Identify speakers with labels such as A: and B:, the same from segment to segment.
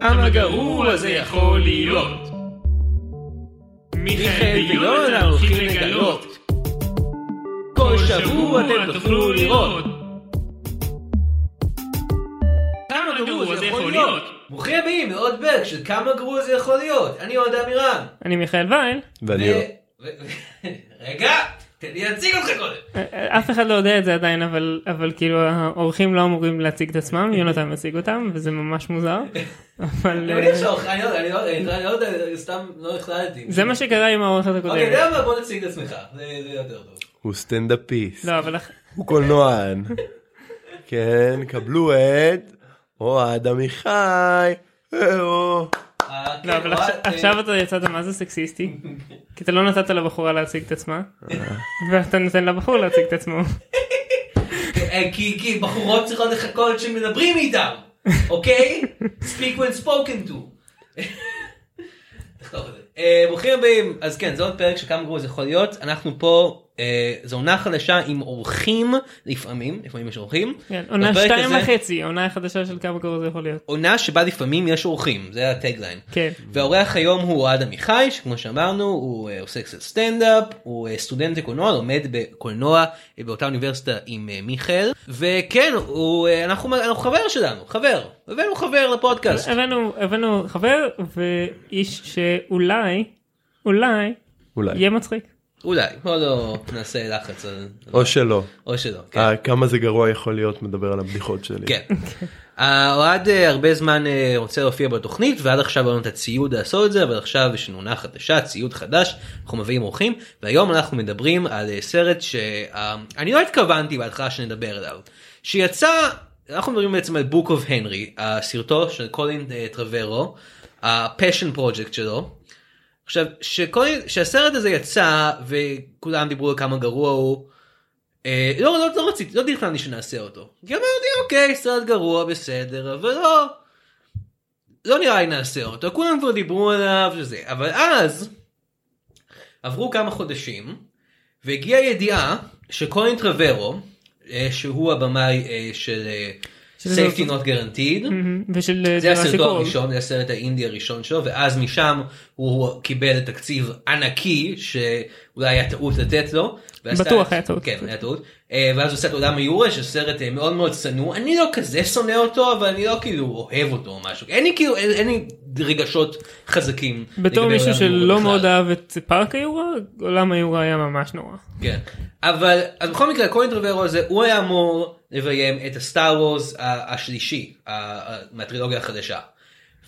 A: כמה גרוע זה יכול להיות. מיכאל ויונה הולכים לגלות. כל שבוע אתם תוכלו לראות.
B: כמה גרוע זה יכול להיות.
C: ברוכים הבאים מעוד ברק של כמה גרוע זה יכול להיות. אני אוהד עמירן.
A: אני מיכאל וייל.
D: ואני לא-
C: ו- ו- רגע, תן לי להציג אותך קודם.
A: אף אחד לא יודע את זה עדיין, אבל, אבל כאילו האורחים לא אמורים להציג את עצמם, יונתן מציג אותם, וזה ממש מוזר. אבל
C: אני
A: אה,
C: מניח שאורך- אני לא- אני לא- אני לא- אני לא יודע, סתם לא החלטתי.
A: זה מה שקרה עם האורחת
C: אוקיי, אתה
A: הקודמת.
C: יודע מה? בוא נציג את עצמך. זה זה יותר טוב.
D: הוא סטנדאפיסט,
A: לא, אבל אח-
D: הוא קולנוען. כן, קבלו את אוהד עמיחי. אה, או.
C: אה, כן,
A: לא, אבל
C: אוהד,
A: עכשיו-
C: אה,
A: עכשיו אתה יצאת מה זה סקסיסטי, כי אתה לא נתת לבחורה להציג את עצמה, ואתה נותן לבחור להציג את עצמו.
C: אה, כי כי בחורות צריכות לחכות שמדברים איתן, אוקיי? Speak when spoken to. תכתוב את זה. אה, ברוכים הבאים, אז כן, זה עוד פרק של כמה גרוע זה יכול להיות. אנחנו פה, אה, זו עונה חדשה עם אורחים, לפעמים, לפעמים יש אורחים.
A: כן, עונה
C: בפרק
A: שתיים
C: הזה-
A: וחצי, עונה חדשה של כמה קרוב זה יכול להיות.
C: עונה שבה לפעמים יש אורחים, זה הטגליין.
A: כן.
C: והאורח היום הוא אוהד עמיחי, שכמו שאמרנו, הוא אה, עושה קצת סטנדאפ, הוא אה, סטודנט לקולנוע, לומד בקולנוע אה, באותה אוניברסיטה עם אה, מיכאל, וכן, הוא, אה, אנחנו, אנחנו חבר שלנו, חבר, הבאנו חבר לפודקאסט.
A: הבאנו הבאנו חבר ואיש שאולי, אולי,
D: אולי.
A: יהיה מצחיק.
C: אולי, בוא לא נעשה לחץ, על-
D: או שלא.
C: או שלא, כן.
D: אה, כמה זה גרוע יכול להיות מדבר על הבדיחות שלי.
C: כן. אה, אוהד אה, הרבה זמן אה, רוצה להופיע בתוכנית ועד עכשיו היה לנו את הציוד לעשות את זה אבל עכשיו יש לנו עונה חדשה ציוד חדש אנחנו מביאים אורחים והיום אנחנו מדברים על אה, סרט שאני לא התכוונתי בהתחלה שנדבר עליו שיצא אנחנו מדברים בעצם על Book of Henry הסרטו של קולין אה, טרוורו ה-passion project שלו עכשיו שכל שהסרט הזה יצא וכולם דיברו על כמה גרוע הוא. אה, לא לא לא רציתי לא תכננתי שנעשה אותו. כי אמרתי אוקיי סרט גרוע בסדר אבל לא. לא נראה לי נעשה אותו כולם כבר דיברו עליו וזה אבל אז. עברו כמה חודשים והגיעה ידיעה שקולין טרוורו אה, שהוא הבמאי אה, של אה,
A: שזה
C: safety
A: אותו-
C: not guaranteed.
A: מהמם. ושל אה,
C: זה
A: ג'ראסיק
C: הסרטו
A: וורלד.
C: הראשון, זה הסרט האינדי הראשון שלו, ואז משם הוא קיבל תקציב ענקי שאולי היה טעות לתת לו. ועשה-
A: בטוח היה טעות.
C: כן, היה טעות. אה, ואז הוא עושה את עולם היורה, שזה סרט אה, מאוד מאוד שנוא. אני לא כזה שונא אותו, אבל אני לא כאילו אוהב אותו או משהו. אין לי כאילו, אין אין לי רגשות חזקים.
A: בתור
C: לגבי
A: מישהו
C: עולם היורה
A: שלא
C: בכלל.
A: מאוד אהב את פארק היורה, עולם היורה היה ממש נורא.
C: כן. אבל אז בכל מקרה קולין טרוורו הזה הוא היה אמור לביים את הסטאר וורס השלישי ה- ה- מהטרילוגיה החדשה.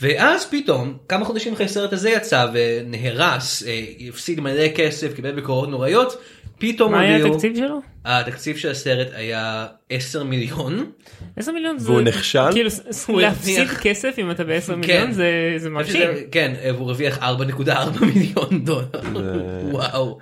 C: ואז פתאום כמה חודשים אחרי הסרט הזה יצא ונהרס אה, הפסיד מלא כסף קיבל ביקורות נוראיות פתאום
A: מה היה
C: הודיעו-
A: התקציב שלו?
C: התקציב של הסרט היה 10 מיליון.
A: עשר מיליון זה...
D: והוא נכשל?
A: כאילו ס-
C: הוא
A: להפסיד
C: הרוויח.
A: כסף אם אתה בעשר מיליון זה זה מרשים.
C: כן, והוא הרוויח 4.4 מיליון דולר.
D: זה-
C: וואו.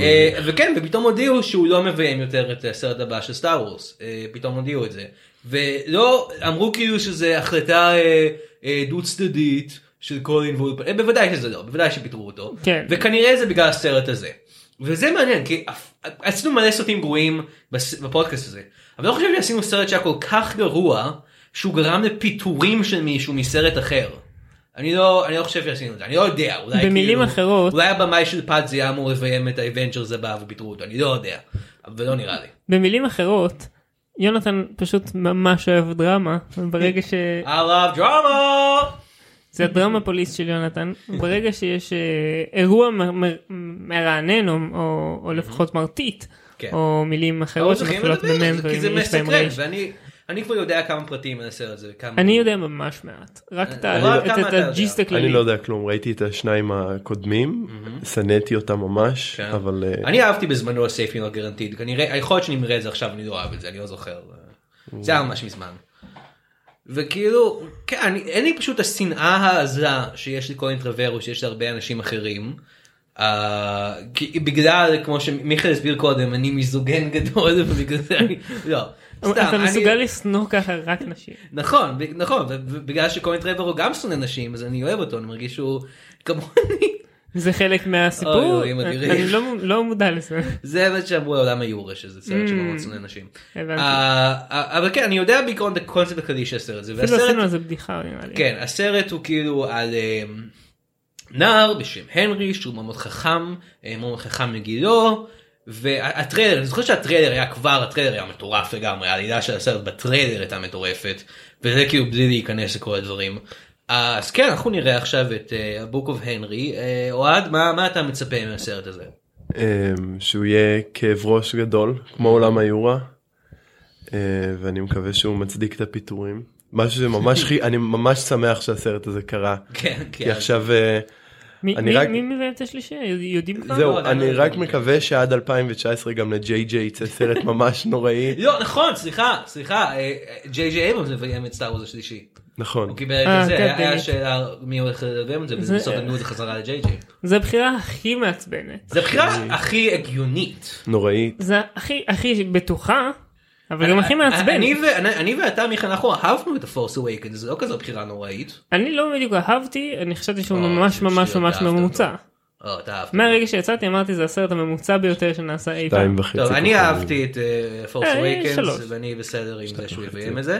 C: אה, וכן, ופתאום הודיעו שהוא לא מביים יותר את הסרט הבא של סטאר וורס. אה, פתאום הודיעו את זה. ולא אמרו כאילו שזה החלטה אה, אה, דו צדדית של קולין ואולפן. אה, בוודאי שזה לא, בוודאי שפיטרו אותו.
A: כן.
C: וכנראה זה בגלל הסרט הזה. וזה מעניין כי אף- עשינו מלא סרטים גרועים בס- בפודקאסט הזה. אבל לא חושב שעשינו סרט שהיה כל כך גרוע שהוא גרם לפיטורים של מישהו מסרט אחר. אני לא אני לא חושב שעשינו את זה אני לא יודע אולי
A: במילים
C: כאילו,
A: אחרות-
C: אולי הבמאי של פאדזי היה אמור לביים את האבנג'רס הבא ופיטרו אותו אני לא יודע אבל לא נראה לי.
A: במילים אחרות, יונתן פשוט ממש אוהב דרמה, ברגע ש...
C: I love drama!
A: זה הדרמה פוליס של יונתן, ברגע שיש אה, אירוע מ- מ- מרענן או- או- או לפחות מרטיט,
C: כן.
A: או מילים
C: לא
A: אחרות
C: צריכים
A: שמתחילות
C: לדבר על
A: במם
C: זה כי זה
A: ויש בהם
C: מסקרן
A: רעש.
C: ואני אני כבר יודע כמה פרטים על הסרט הזה. וכמה-
A: אני יודע ממש מעט, רק את ה-
C: רק
A: את-
C: אה, לא, כמה
A: את
C: אתה יודע.
A: הג'יסט
D: אני
A: הכללי.
D: לא יודע כלום, ראיתי את השניים הקודמים, שנאתי אותם ממש,
C: כן.
D: אבל אה,
C: אני אהבתי בזמנו על סייפי לא גרנטיד כנראה יכול להיות שאני מראה את זה עכשיו אני לא אוהב את זה אני לא זוכר זה היה ממש מזמן. וכאילו כן, אני, אין לי פשוט השנאה העזה שיש לי קולין טרוורו שיש להרבה אנשים אחרים. Uh, כי, בגלל כמו שמיכאל הסביר קודם אני מיזוגן גדול ובגלל זה אני לא סתם
A: אתה
C: אני-
A: מסוגל לשנוא ככה רק נשים.
C: נכון ב- נכון ובגלל שקולין טרוורו גם שונא נשים אז אני אוהב אותו אני מרגיש שהוא כמוני
A: זה חלק מהסיפור?
C: אוי, אלוהים אדירים.
A: אני לא- לא מודע לזה.
C: זה מה שאמרו על עולם היורה שזה סרט
A: Mm.
C: שמרוצנו לנשים.
A: הבנתי.
C: אה, אה, אבל כן אני יודע בעיקרון את הקונספט הכללי של הסרט הזה.
A: אפילו
C: והסרט-
A: עשינו על זה בדיחה נראה לי.
C: כן הסרט הוא כאילו על אה, נער בשם הנרי שהוא מאוד מאוד חכם אה, מאוד מאוד חכם מגילו והטריילר אני זוכר שהטריילר היה כבר הטריילר היה מטורף לגמרי העלילה של הסרט בטריילר הייתה מטורפת וזה כאילו בלי להיכנס לכל הדברים. אה, אז כן אנחנו נראה עכשיו את אה, הבוק אוף הנרי אה, אוהד מה מה אתה מצפה מהסרט הזה.
D: אמ, שהוא יהיה כאב ראש גדול כמו עולם היורה אה, ואני מקווה שהוא מצדיק את הפיטורים משהו שממש חי- אני ממש שמח שהסרט הזה קרה
C: כן
D: כי
C: כן.
D: עכשיו אה,
A: מי-
D: אני
A: מי-
D: רק-
A: מי מבין את השלישי? יודעים כבר?
D: זהו
C: לא, עדיין
D: אני
C: לא
D: רק
C: יודעים.
D: מקווה שעד 2019 גם לג'יי ג'יי יצא סרט ממש נוראי
C: לא נכון סליחה סליחה אה, ג'יי ג'יי אברמס מביים את סטאר וורז השלישי.
D: נכון
C: הוא קיבל את
A: אה,
C: זה
A: כן,
C: היה-
A: באמת.
C: היה שאלה מי הולך לביים את זה
A: זה-
C: ובסוף נתנו את זה חזרה לג'יי ג'יי.
A: זו הבחירה הכי מעצבנת.
C: זה הבחירה הכי הגיונית.
D: נוראי
A: זו הכי הכי בטוחה, אבל גם הכי
C: אה, אני
A: מעצבנת.
C: ו- אני- אני ואתה מיכאל אנחנו אהבנו את הפורס אווייקנד זה לא כזו בחירה נוראית.
A: אני לא בדיוק אהבתי, אני חשבתי שהוא
C: או,
A: ממש
C: שטויות,
A: ממש ממש
C: אהבת אותו.
A: ממוצע.
C: או, אה, אתה אהבת.
A: מהרגע שיצאתי אמרתי זה הסרט הממוצע ביותר שנעשה אי פעם.
D: שתיים וחצי
C: טוב אני
D: כוכבים.
C: אהבתי את פורס
A: אה,
C: אווייקנד
A: שלוש.
C: ואני בסדר עם זה שהוא
D: וחצי.
C: יביים את זה.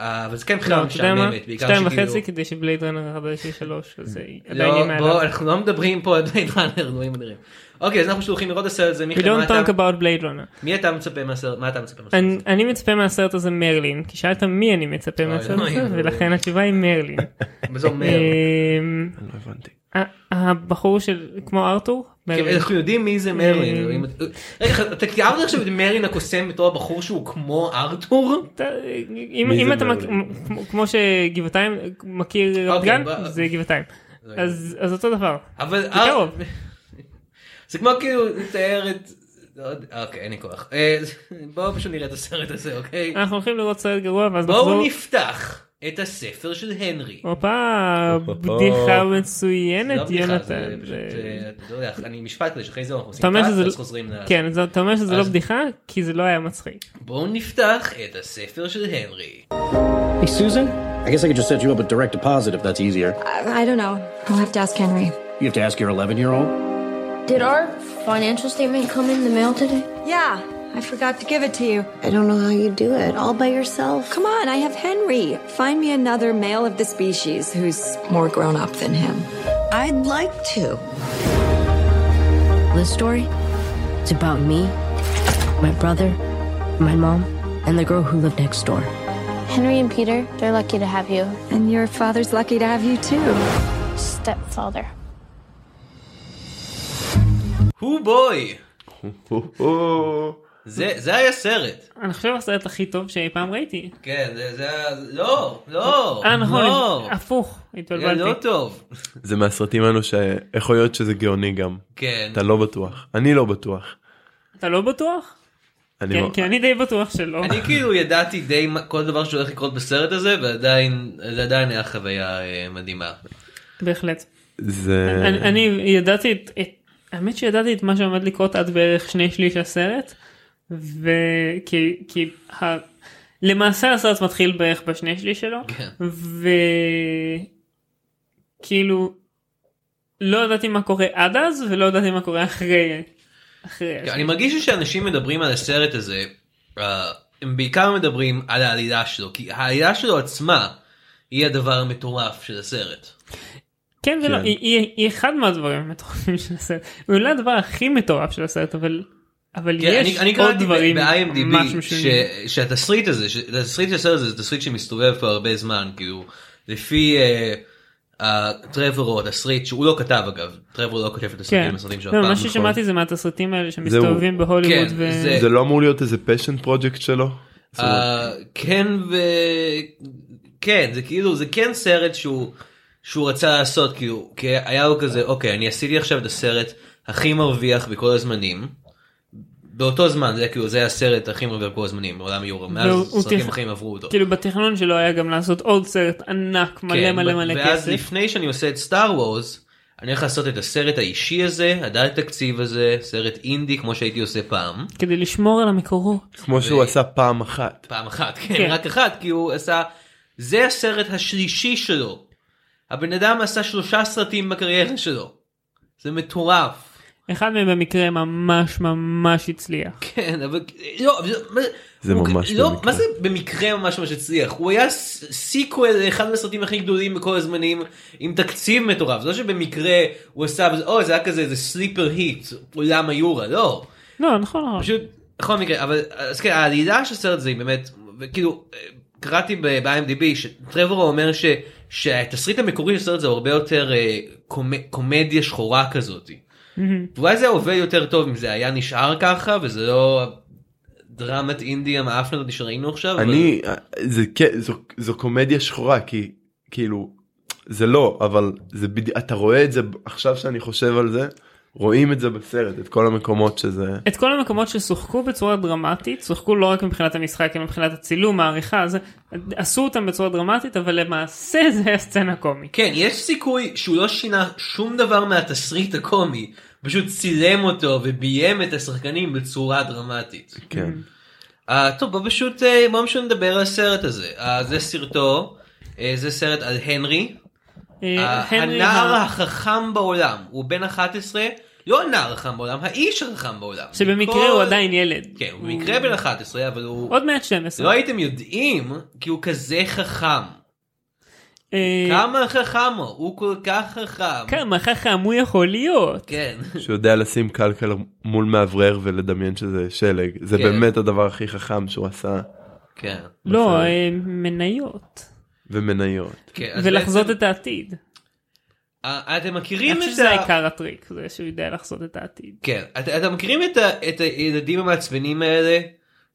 C: אה, אבל זה כן
A: לא,
C: בחירה
A: אתה יודע מה?
C: משעממת. בעיקר
A: שתיים
C: שכאילו-
A: וחצי כדי שבלייד רנר החדש יהיה שלוש, אז זה עדיין
C: לא,
A: יהיה מעליו.
C: בוא, אנחנו לא מדברים פה על בלייד ראנר, אלוהים אדירים. אוקיי, אז אנחנו שהולכים לראות את הסרט הזה,
A: We
C: מיכאל, מה
A: don't talk
C: אתה-
A: about Blade Runner.
C: מי אתה מצפה מהסרט? מה אתה מצפה מהסרט?
A: אני-
C: הזה?
A: אני מצפה מהסרט הזה מרלין, כי שאלת מי אני מצפה
C: אוי,
A: מהסרט
C: אוי,
A: הזה,
C: אוי.
A: ולכן התשובה היא מרלין.
C: מה זה אומר?
A: אמ,
D: לא הבנתי.
A: ה- הבחור של, כמו ארתור?
C: כן,
A: מרלין.
C: אנחנו יודעים מי זה מרלין.
A: אה.
C: אלוהים- רגע, אתה תיארת עכשיו את מרלין הקוסם בתור הבחור שהוא כמו ארתור?
A: אתה- אם
D: מי
A: אם
D: זה
A: אתה מכיר,
D: מרלין?
A: כמו- כמו שגבעתיים מכיר רמת
C: אוקיי,
A: גן,
C: ב-
A: זה גבעתיים. אז אז אותו דבר.
C: אבל...
A: בקרוב.
C: אה, זה כמו כאילו לתאר את... לא יודע, אוקיי, אין לי כוח. אה, בואו פשוט נראה את הסרט הזה, אוקיי?
A: אנחנו הולכים לראות סרט גרוע ואז נחזור.
C: בואו נפתח את הספר של הנרי.
A: אה, הופה, בדיחה מצוינת,
C: לא בדיחה,
A: יונתן.
C: זה פשוט,
A: זה-
C: אה, אתה יודע, אני משפט כדי שאחרי זה אנחנו
A: אתה
C: עושים
A: אומר
C: קאט,
A: שזה-
C: ואז חוזרים ל...
A: כן, זה- אתה אומר שזה לא
C: אז-
A: בדיחה, כי זה לא היה מצחיק.
C: בואו נפתח את הספר של הנרי.
E: Hey, Susan? I guess I could just set you up with direct deposit if that's easier.
F: I, I don't know. I'll have to ask Henry.
E: You have to ask your 11 year old.
G: Did our financial statement come in the mail today?
F: Yeah, I forgot to give it to you.
H: I don't know how you do it all by yourself.
F: Come on, I have Henry. Find me another male of the species who's more grown up than him.
H: I'd like to. This story? It's about me, my brother, my mom, and the girl who lived next door.
G: Henry and Peter, they're lucky to have you.
F: And your father's lucky to have you too.
G: Stepfather.
C: הוא בוי!
D: הו, הו.
C: זה זה היה סרט.
A: אני חושב הסרט הכי טוב שאי פעם ראיתי.
C: כן, זה זה היה... לא, לא,
A: אה נכון,
C: לא.
A: הפוך,
C: זה לא
A: התבלבלתי.
C: טוב.
D: זה מהסרטים האלו שיכול להיות שזה גאוני גם
C: כן.
D: אתה לא בטוח אני לא בטוח.
A: אתה לא בטוח?
D: אני
A: כן,
D: לא-
A: כי אני די בטוח שלא.
C: אני כאילו ידעתי די מה- כל דבר שהולך לקרות בסרט הזה, ועדיין, זה עדיין היה חוויה אה, מדהימה.
A: בהחלט.
D: זה
C: אה.
A: אני אני ידעתי את, את- האמת שידעתי את מה שעומד לקרות עד בערך שני שליש הסרט. וכי כי ה... למעשה הסרט מתחיל בערך בשני שליש שלו.
C: כן.
A: וכאילו כאילו, לא ידעתי מה קורה עד אז ולא ידעתי מה קורה אחרי. אחרי.
C: כן, אני מרגיש שכשאנשים מדברים על הסרט הזה, אה, הם בעיקר מדברים על העלילה שלו, כי העלילה שלו עצמה היא הדבר המטורף של הסרט.
A: כן ולא,
D: כן.
A: היא, היא, היא אחד מהדברים המטורפים של הסרט. הוא לא הדבר הכי מטורף של הסרט אבל אבל
C: כן,
A: יש עוד דברים ממש
C: ב-IMDb
A: משונים.
C: ש- שהתסריט הזה, ש- התסריט של הסרט הזה זה תסריט שמסתובב כבר הרבה זמן, כאילו, לפי אה, אה, טרוור או התסריט, שהוא לא כתב אגב, טרוור לא כותב את
A: כן,
C: הסרטים, הסרטים שלו
A: לא,
C: אף
A: מה
C: פעם.
A: ששמעתי זה מהתסריטים האלה שמסתובבים בהוליווד
C: כן,
A: ו...
C: זה-
D: זה לא אמור להיות איזה פשן פרויקט שלו. זאת אומרת,
C: אה, כן ו... כן, זה כאילו, זה כן סרט שהוא, שהוא רצה לעשות, כאילו, כי היה לו כזה, אוקיי, אני עשיתי עכשיו את הסרט הכי מרוויח בכל הזמנים. באותו זמן זה היה כאילו זה היה הסרט הכי מרוויח בכל הזמנים בעולם יורו
A: והוא-
C: מאז
A: הוא
C: סרטים
A: תכ-
C: אחרים עברו אותו.
A: כאילו בתכנון שלו היה גם לעשות עוד סרט ענק מלא
C: כן,
A: מלא
C: ו-
A: מלא
C: ואז
A: כסף.
C: לפני שאני עושה את סטאר וורז, אני הולך לעשות את הסרט האישי הזה, הדל תקציב הזה, סרט אינדי כמו שהייתי עושה פעם.
A: כדי לשמור על המקורות.
D: כמו שהוא עשה פעם אחת.
C: פעם אחת, כן,
A: כן.
C: רק אחת, כי הוא עשה, זה הסרט השלישי שלו. הבן אדם עשה שלושה סרטים בקריירה שלו. זה מטורף.
A: אחד מהם במקרה ממש ממש הצליח.
C: כן, אבל לא, אבל זה- מה-
D: זה
C: הוא-
D: ממש
C: לא,
D: במקרה.
C: מה זה במקרה ממש ממש הצליח? הוא היה ס- סיקוול לאחד מהסרטים הכי גדולים בכל הזמנים, עם תקציב מטורף. זה לא שבמקרה הוא עשה, או זה היה כזה איזה סליפר היט, עולם היורה, לא.
A: לא, נכון, נכון.
C: פשוט, בכל מקרה, אבל אז כן, העלילה של הסרט זה היא באמת, כאילו, קראתי ב- ב-IMDb שטרבור אומר ש, שהתסריט המקורי של הסרט זה הרבה יותר אה, קומ, קומדיה שחורה כזאת. ואולי זה עובד יותר טוב אם זה היה נשאר ככה וזה לא דרמת אינדי המאפנה הזאת לא שראינו עכשיו.
D: אני, זה כן, זו, זו קומדיה שחורה, כי כאילו, זה לא, אבל זה בדיוק, אתה רואה את זה עכשיו שאני חושב על זה, רואים את זה בסרט, את כל המקומות שזה,
A: את כל המקומות ששוחקו בצורה דרמטית, שוחקו לא רק מבחינת המשחק, אלא מבחינת הצילום, העריכה, זה, עשו אותם בצורה דרמטית, אבל למעשה זה היה סצנה קומית.
C: כן, יש סיכוי שהוא לא שינה שום דבר מהתסריט הקומי, פשוט צילם אותו וביים את השחקנים בצורה דרמטית.
D: כן.
C: Uh, טוב בוא פשוט uh, בוא פשוט נדבר על הסרט הזה uh, זה סרטו uh, זה סרט על הנרי uh,
A: אה, הנרי
C: הנער
A: ה-
C: החכם בעולם הוא בן 11 לא הנער החכם בעולם האיש החכם בעולם
A: שבמקרה
C: כל-
A: הוא עדיין ילד.
C: כן הוא במקרה בן 11 אבל הוא
A: עוד מעט 12.
C: לא הייתם יודעים כי הוא כזה חכם
A: אה, כן.
C: כמה חכם הוא הוא כל כך חכם
A: כמה חכם הוא יכול להיות.
C: כן
D: שיודע לשים קלקל מול מאוורר ולדמיין שזה שלג, זה
C: כן.
D: באמת הדבר הכי חכם שהוא עשה,
C: כן
A: לא, אה, מניות.
D: ומניות.
C: כן, אז
A: ולחזות
C: בעצם,
A: את העתיד.
C: אה, אתם
A: אני
C: מכירים
A: חושב
C: את
A: שזה
C: ה-
A: העיקר הטריק, זה שהוא יודע לחזות את העתיד.
C: כן, את, אתם מכירים את, ה, את הילדים המעצבנים האלה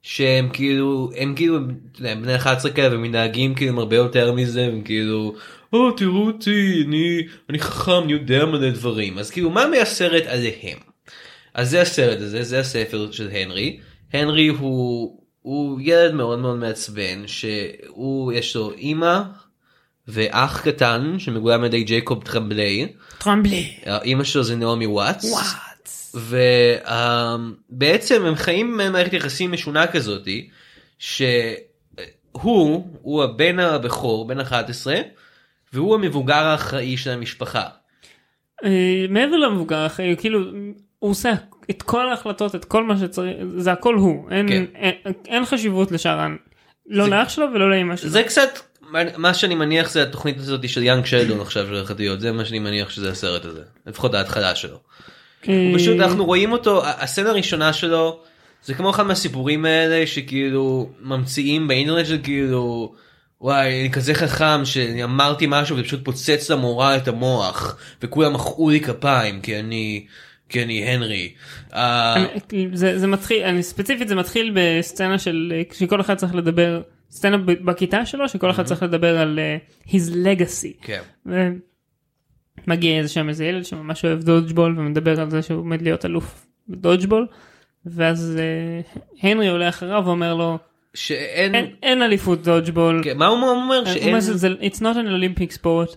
C: שהם כאילו הם כאילו הם, אתה יודע, הם בני 11 כאלה ומתנהגים כאילו הם הרבה יותר מזה הם כאילו או תראו אותי אני אני חכם אני יודע מלא דברים אז כאילו מה מהסרט עליהם. אז זה הסרט הזה זה הספר של הנרי הנרי הוא הוא ילד מאוד מאוד מעצבן שהוא יש לו אימא ואח קטן שמגולם על ידי ג'ייקוב טרמבליי
A: טרמבלי.
C: אימא שלו זה נעמי וואטס. ובעצם הם חיים במערכת יחסים משונה כזאתי שהוא הוא הבן הבכור בן 11 והוא המבוגר האחראי של המשפחה.
A: אה, מעבר למבוגר אחרי, כאילו, הוא עושה את כל ההחלטות, את כל מה שצריך, זה הכל הוא. אין,
C: כן.
A: אין, אין חשיבות לשאר, ה- לא
C: זה-
A: לאח שלו ולא לאמא שלו.
C: זה קצת מה שאני מניח זה התוכנית הזאת של יאנג שלדון עכשיו של החטאיות זה מה שאני מניח שזה הסרט הזה לפחות ההתחלה שלו.
A: אה,
C: הוא פשוט אנחנו רואים אותו ה- הסצנה הראשונה שלו זה כמו אחד מהסיפורים האלה שכאילו ממציאים באינטרנט של כאילו וואי אני כזה חכם שאני אמרתי משהו ופשוט פוצץ למורה את המוח וכולם מחאו לי כפיים כי אני כי אני הנרי. אה,
A: אני- זה, זה מתחיל, אני, ספציפית זה מתחיל בסצנה של, אה, שכל אחד צריך לדבר, סצנה ב- בכיתה שלו, שכל
C: Mhm.
A: אחד צריך לדבר על אה, his legacy. אה,
C: כן.
A: מגיע איזה שם איזה ילד שממש אוהב דודג'בול ומדבר על זה שהוא עומד להיות אלוף בדודג'בול. ואז אה, הנרי עולה אחריו ואומר לו
C: שאין
A: אין, אין אליפות דודג'בול.
C: כן, מה הוא אומר
A: הוא
C: שאין
A: אומר שזה it's not an Olympic sport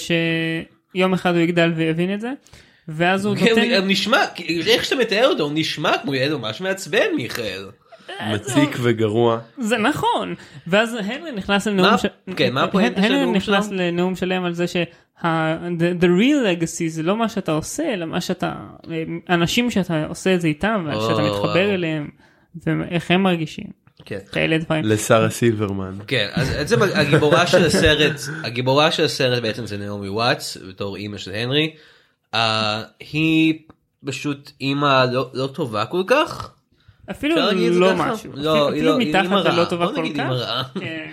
A: ושיום אחד הוא יגדל ויבין את זה. ואז הוא
C: כן, הוא
A: נותן,
C: הוא נשמע כי- איך שאתה מתאר אותו הוא נשמע כמו ילד ממש מעצבן מיכאל.
D: מציק
C: לא-
D: וגרוע,
A: זה נכון. ואז הנרי נכנס
C: מה-
A: לנאום, ש...
C: כן, מה הפואנטה של
A: הנרי
C: הנאום שלו?
A: נכנס לנאום שלם על זה שה... the, the real legacy זה לא מה שאתה עושה, אלא מה שאתה, אנשים שאתה עושה את זה איתם,
C: או,
A: ושאתה
C: וואו.
A: מתחבר אליהם, ואיך הם מרגישים.
C: כן.
A: כאלה דברים.
D: לשרה סילברמן.
C: כן, אז בעצם הגיבורה של הסרט, הגיבורה של הסרט בעצם זה נעמי וואטס, בתור אימא של הנרי. Uh, היא פשוט אימא לא, לא טובה כל כך.
A: אפילו
C: אפשר להגיד את זה
A: לא
C: ככה?
A: משהו.
C: לא,
A: אפילו-
C: היא
A: אפילו
C: לא- היא
A: מתחת
C: אימא רעה.
A: ללא טובה
C: בוא
A: כל
C: נגיד
A: כך.
C: אימא רעה.
A: כן.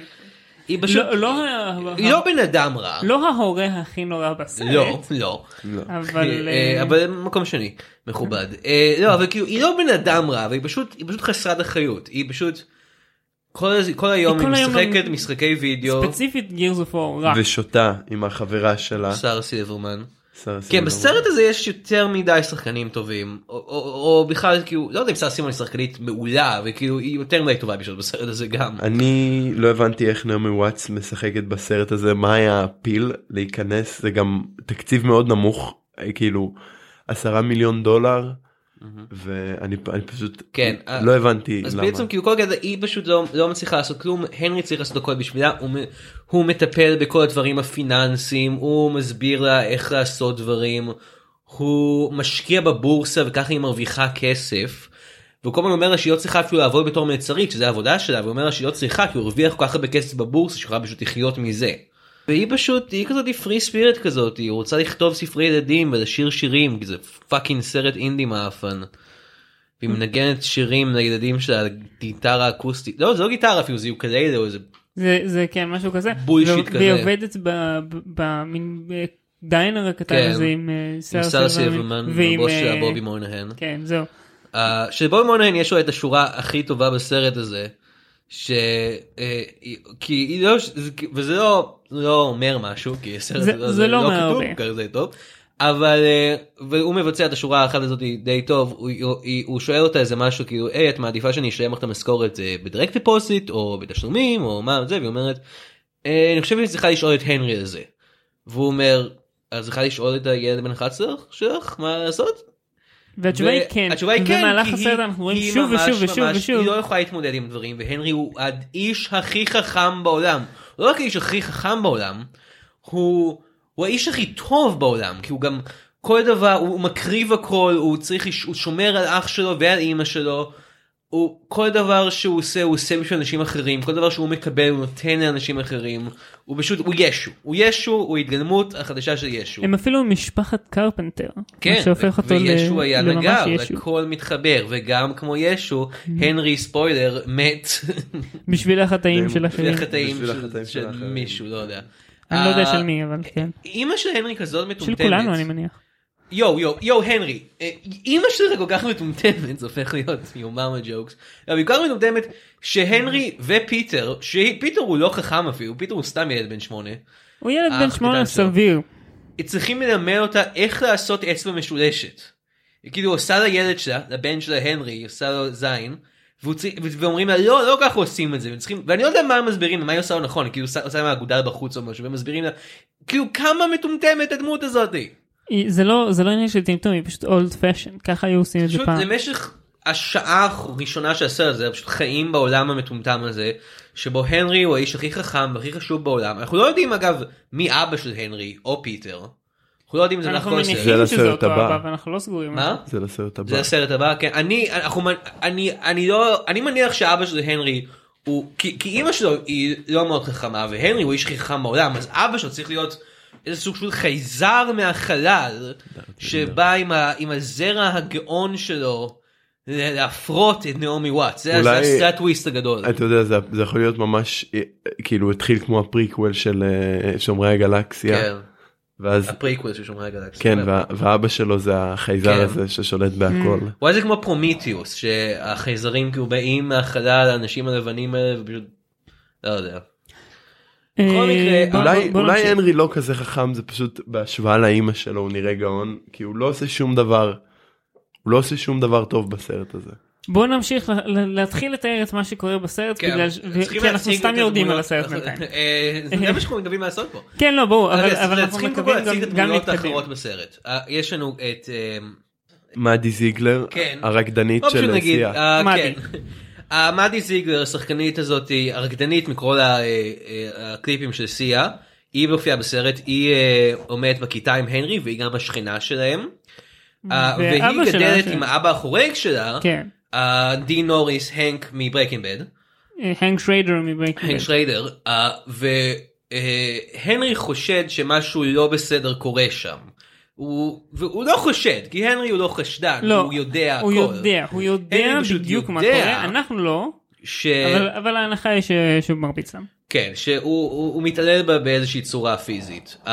C: היא פשוט,
A: לא- לא ה-
C: היא לא בן אדם רע.
A: לא ההורה הכי נורא בסרט.
C: לא, לא.
A: אבל...
C: אה,
A: אה,
C: אבל מקום שני מכובד אה, לא אבל כאילו היא לא בן אדם רע אבל היא פשוט היא פשוט חסרת אחריות היא פשוט כל הז- כל היום היא
A: כל היום
C: משחקת
A: אני-
C: משחקי וידאו
A: ספציפית גירס אוף אור
C: אה.
A: רע.
D: ושותה עם החברה שלה,
C: שר סילברמן.
D: שרה סילברמן.
C: כן בסרט הזה יש יותר מדי שחקנים טובים או, או, או בכלל כאילו לא יודע אם סער סימון היא שחקנית מעולה וכאילו היא יותר מדי טובה בשביל בסרט הזה גם.
D: אני לא הבנתי איך נעמי וואטס משחקת בסרט הזה מה היה הפיל להיכנס זה גם תקציב מאוד נמוך אה, כאילו עשרה מיליון דולר ואני פ- אני פשוט
C: כן,
D: לא
C: אה,
D: הבנתי
C: אז
D: למה.
C: בעצם כאילו כל כזה היא פשוט לא, לא מצליחה לעשות כלום הנרי צריך לעשות הכל בשבילה הוא, מ- הוא מטפל בכל הדברים הפיננסיים הוא מסביר לה איך לעשות דברים הוא משקיע בבורסה וככה היא מרוויחה כסף. והוא כל הזמן אומר לה שהיא לא צריכה אפילו לעבוד בתור מלצרית שזה העבודה שלה והוא אומר לה שהיא לא צריכה כי הוא הרוויח כל כך הרבה כסף בבורסה שיכולה פשוט לחיות מזה. והיא פשוט היא כזאת פרי ספירט כזאת היא רוצה לכתוב ספרי ילדים ולשיר שירים כי זה פאקינג סרט אינדי מאפן. והיא מנגנת שירים לילדים שלה על גיטרה אקוסטית לא זה לא גיטרה אפילו זה יוקללה או איזה
A: זה, זה כן משהו כזה.
C: בולשיט
A: והיא-
C: כזה.
A: והיא עובדת במין אה, דיינר הקטן
C: כן.
A: הזה עם אה,
C: עם
A: סארה
C: סארה
A: סילברמן
C: סילברמן
A: ועם,
C: הבוס
A: אה,
C: שלה בובי מויינהן.
A: כן זהו.
C: אה, שבובי מויינהן יש לו את השורה הכי טובה בסרט הזה. ש... אה, היא- כי היא לא... זה- וזה לא, לא אומר משהו כי הסרט
A: זה-
C: הזה
A: זה לא אומר
C: כתוב
A: הרבה.
C: כזה טוב. אבל אה, והוא מבצע את השורה האחת הזאת די טוב הוא, הוא, הוא שואל אותה איזה משהו כאילו היי את מעדיפה שאני אשלם לך את המשכורת אה, בדירקט דיפוסיט או בתשלומים או מה זה והיא אומרת "אה, אני חושב שאני צריכה לשאול את הנרי על זה. והוא אומר אז צריכה לשאול את הילד בן 11 שלך מה לעשות
A: והתשובה היא כן.
C: התשובה היא כן,
A: במהלך
C: כי
A: הסרט
C: היא-
A: אנחנו רואים
C: היא
A: שוב
C: ממש,
A: ושוב ושוב
C: ממש-
A: ושוב.
C: היא לא יכולה להתמודד עם דברים, והנרי הוא האיש הכי חכם בעולם. הוא לא רק האיש הכי חכם בעולם, הוא, הוא האיש הכי טוב בעולם, כי הוא גם כל דבר, הוא, הוא מקריב הכל, הוא צריך, לש- הוא שומר על אח שלו ועל אימא שלו. הוא כל דבר שהוא עושה הוא עושה בשביל אנשים אחרים כל דבר שהוא מקבל הוא נותן לאנשים אחרים הוא פשוט הוא ישו הוא ישו הוא התגלמות החדשה של ישו.
A: הם אפילו משפחת קרפנטר. מה
C: כן,
A: שהופך אותו ל-
C: וישו היה
A: לממש
C: נגר,
A: ישו. Mm-hmm.
C: הכל מתחבר, וגם כמו ישו, הנרי ספוילר מת
A: בשביל החטאים של
C: בשביל
A: אחרים.
C: החטאים
D: בשביל
C: של-
D: החטאים אה. של
C: של
D: האחרים.
C: מישהו, לא יודע.
A: אני לא יודע
C: אה,
A: של מי אבל כן.
C: אימא של הנרי כזאת
A: של
C: מטומטמת.
A: כולנו אני מניח.
C: יואו יואו יואו הנרי אה, אימא שלך כל כך מטומטמת זה הופך להיות יוממה ג'וקס. אבל היא כל כך מטומטמת שהנרי
A: Mm-hmm.
C: ופיטר שפיטר הוא לא חכם אפילו פיטר הוא סתם ילד בן שמונה.
A: הוא ילד בן
C: האח
A: שמונה
C: הקטן שלו.
A: סביר.
C: צריכים ללמד אותה איך לעשות אצבע משולשת. היא כאילו עושה לילד שלה, לבן שלה הנרי, היא עושה לו זין, והוא צי- ו- ואומרים לה לא, לא ככה עושים את זה, והם צריכים- ואני לא יודע מה הם מסבירים, מה היא עושה לא נכון, היא כאילו עושה- עושה לה אגודל בחוץ או משהו, והם מסבירים לה, כאילו כמה מטומטמת הדמות הזאתי.
A: היא- זה לא זה לא עניין של טמטום היא פשוט אולד פאשן ככה היו עושים את זה
C: פשוט
A: פעם.
C: למשך השעה הראשונה של הסרט הזה פשוט חיים בעולם המטומטם הזה שבו הנרי הוא האיש הכי חכם והכי חשוב בעולם אנחנו לא יודעים אגב מי אבא של הנרי או פיטר. אנחנו לא יודעים אם זה
A: אנחנו
C: נכון הסרט.
A: מניחים שזה
D: לסרט
A: אותו
D: הבא.
A: אבא ואנחנו לא סגורים. על
C: מה?
A: זה.
D: זה לסרט הבא.
C: זה הסרט הבא כן אני אנחנו אני אני לא אני מניח שאבא של הנרי הוא כי, כי אימא שלו היא לא מאוד חכמה והנרי הוא איש הכי חכם בעולם אז אבא שלו צריך להיות איזה סוג של חייזר מהחלל שבא עם, ה, עם הזרע הגאון שלו ל- להפרות את נעמי וואט זה,
D: אולי- אה,
C: זה, זה הטוויסט הגדול.
D: אתה יודע זה, זה יכול להיות ממש אה, כאילו התחיל כמו הפריקוול של אה, שומרי הגלקסיה
C: כן,
D: ואז
C: הפריקוול של שומרי הגלקסיה.
D: כן וה, ואבא שלו זה החייזר
C: כן.
D: הזה ששולט בהכל.
C: וואי זה כמו פרומיטיוס שהחייזרים כאילו באים מהחלל האנשים הלבנים האלה ופשוט לא יודע. בכל
A: אה,
C: מקרה, אוקיי.
A: בוא-
D: אולי,
A: בוא
D: אולי
A: נמשיך.
D: הנרי לא כזה חכם זה פשוט בהשוואה לאימא שלו הוא נראה גאון כי הוא לא עושה שום דבר. הוא לא עושה שום דבר טוב בסרט הזה.
A: בוא נמשיך ל- ל- להתחיל לתאר את מה שקורה בסרט
C: כן,
A: בגלל ש-
C: אבל צריכים
A: כי אנחנו
C: להציג
A: סתם
C: את
A: יורדים על
C: הדמויות.
A: הסרט
C: אנחנו-
A: בינתיים.
C: אה, זה מה שאנחנו מתכוונים לעשות פה.
A: כן לא ברור אבל
C: אוקיי, אז
A: אבל אנחנו
C: צריכים קודם כל
A: מקווים
C: להציג את
A: גם- גם
C: הדמויות
A: להתקדם.
C: האחרות בסרט. אה, יש לנו את... אה,
D: מאדי זיגלר
C: כן.
D: הרקדנית
C: לא פשוט
D: של
C: נגיד,
D: סיעה.
C: אה,
A: מדי.
C: כן. אה, מדי זיגלר השחקנית הזאת היא הרקדנית מכל ה- אה, אה, הקליפים של סיה. היא מופיעה בסרט, היא אה, עומדת בכיתה עם הנרי והיא גם השכנה שלהם. אה, והיא
A: ואבא שלה
C: גדלת
A: ש-
C: עם האבא החורג שלה,
A: כן.
C: אה, דין נוריס, הנק מברקינבד.
A: אה, הנק שריידר מברייקינג.
C: הנק שריידר, אה, והנרי חושד שמשהו לא בסדר קורה שם. הוא, והוא לא חושד, כי הנרי הוא לא חשדן,
A: לא,
C: הוא יודע
A: הוא
C: הכל.
A: יודע, הוא יודע
C: הנרי פשוט
A: בדיוק מה
C: יודע. אה.
A: קורה, אנחנו לא,
C: ש...
A: אבל- אבל ההנחה היא ש- שהוא מרביץ להם.
C: כן, שהוא הוא, הוא מתעלל בה באיזושהי צורה פיזית. Uh,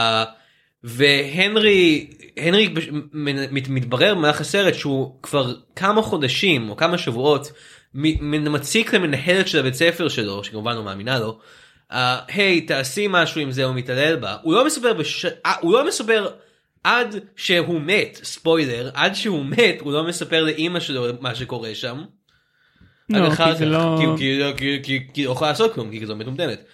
C: והנרי, הנרי בש- מנ- מת- מתברר במהלך הסרט שהוא כבר כמה חודשים או כמה שבועות מ- מנ- מציק למנהלת של הבית ספר שלו, שכמובן לא מאמינה לו, אה, היי תעשי משהו עם זה, הוא מתעלל בה. הוא לא מספר, בש... אה, הוא לא מספר עד שהוא מת, ספוילר, עד שהוא מת הוא לא מספר לאימא שלו מה שקורה שם. עד
A: לא,
C: אחר
A: כי זה
C: כך,
A: לא...
C: כי- כי- כי- כי- כי לא יכולה לעשות כלום, כי היא כזו מטומטמת.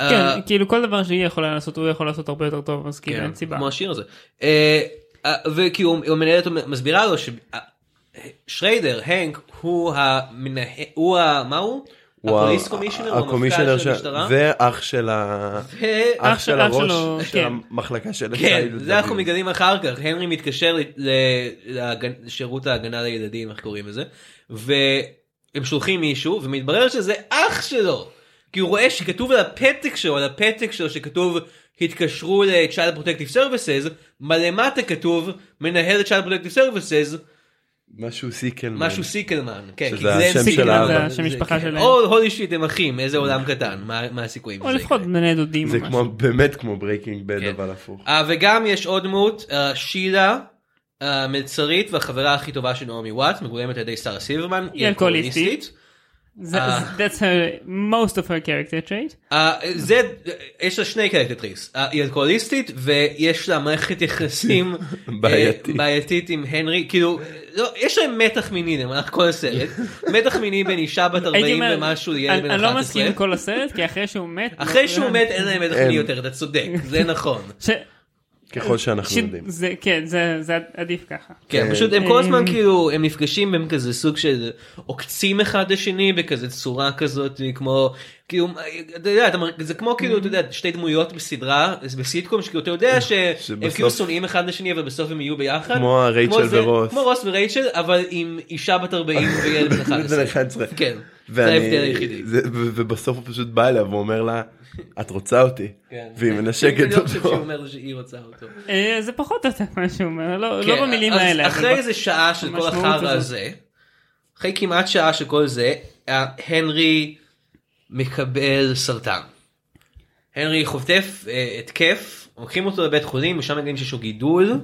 C: אה,
A: כן, כאילו כל דבר שהיא יכולה לעשות, הוא יכול לעשות הרבה יותר טוב, אז כאילו
C: כן,
A: אין סיבה.
C: כמו השיר הזה. אה, אה, וכאילו המנהלת מסבירה אה, לו ששריידר, הנק, הוא המנהל, הוא ה... מה הוא?
D: הוא ה-
C: הפוליס קומישיונר, הוא המפכ"ל
D: הקומישיונר
C: של המשטרה? אה,
D: ואח של ה... אח
A: אח
D: של הראש
A: שלו,
D: של
A: כן.
D: המחלקה של
C: כן,
D: הצייד
C: זה אנחנו
D: לדעתי.
C: מגלים אחר כך, הנרי מתקשר לשירות ההגנה לילדים, איך קוראים לזה, והם שולחים מישהו, ומתברר שזה אח שלו, כי הוא רואה שכתוב על הפתק שלו, על הפתק שלו שכתוב, התקשרו ל-Child Protective Services, מלמטה כתוב, מנהל Child Protective Services,
D: משהו סיקלמן.
C: משהו סיקלמן, כן,
D: שזה
C: כי זה
D: השם
C: אין
D: של
C: סיקלמן.
D: האבא. זה
A: השם משפחה
C: כן.
A: שלהם.
C: או הולי שיט הם אחים, איזה עולם קטן, מה- מה הסיכויים?
A: או
C: שזה
A: לפחות
C: יקרה?
A: בני דודים.
D: זה
A: או
D: כמו באמת כמו ברייקינג בד
C: כן.
D: אבל הפוך.
C: Uh, וגם יש עוד דמות, uh, שילה, uh, מלצרית והחברה הכי טובה של נעמי וואט, מגולמת על ידי שרה סילברמן,
A: היא אלכוהוליסטית. משהו. זה-
C: אה.
A: זה- That's her, most of her character trait.
C: Uh, זה, יש לה שני קרקטריס, uh, היא אלכוהוליסטית ויש לה מערכת יחסים אה,
D: בעייתית.
C: בעייתית עם הנרי, כאילו, לא, יש להם מתח מיני למהלך כל הסרט, מתח מיני בין אישה בת 40
A: אומר,
C: ומשהו לילד
A: אני
C: בן
A: אני לא
C: 11.
A: מסכים עם כל הסרט, כי אחרי שהוא מת...
C: אחרי
A: לא-
C: שהוא מת אין להם מתח
D: אין.
C: מיני יותר, אתה צודק, זה נכון.
A: ש-
D: ככל שאנחנו
A: ש-
D: יודעים.
A: זה- כן, זה זה עדיף ככה.
C: כן,
D: כן.
C: פשוט הם כל הזמן
A: אמ,
C: כאילו הם נפגשים הם כזה סוג של עוקצים אחד לשני בכזה צורה כזאת כמו כאילו אתה יודע אתה מרג- זה כמו כאילו אתה יודע שתי דמויות בסדרה בסיטקום שכאילו אתה יודע שהם
D: אה, שבסוף-
C: כאילו שונאים אחד לשני אבל בסוף הם יהיו ביחד
D: כמו רייצ'ל
C: זה-
D: ורוס.
C: כמו רוס ורייצ'ל אבל עם אישה בת 40 וילד בן 11
D: 11.
C: כן זה
D: ואני-
C: ההבדל היחידי.
D: זה- ו- ובסוף הוא פשוט בא אליה ואומר לה את רוצה אותי
C: כן.
D: והיא
C: אני
D: מנשקת
C: לא חושב שהוא
D: אותו.
C: אומר שהיא רוצה אותו.
A: אה, זה פחות או יותר מה שהוא אומר, לא
C: כן,
A: לא במילים
C: אז
A: האלה. אבל
C: אחרי
A: ב-
C: איזה שעה של כל
A: המשמעות
C: החרא
A: הזאת.
C: הזה, אחרי כמעט שעה של כל זה, אה, הנרי מקבל סרטן. הנרי חוטף אה, התקף, לוקחים אותו לבית חולים, ושם מגלים שיש לו גידול.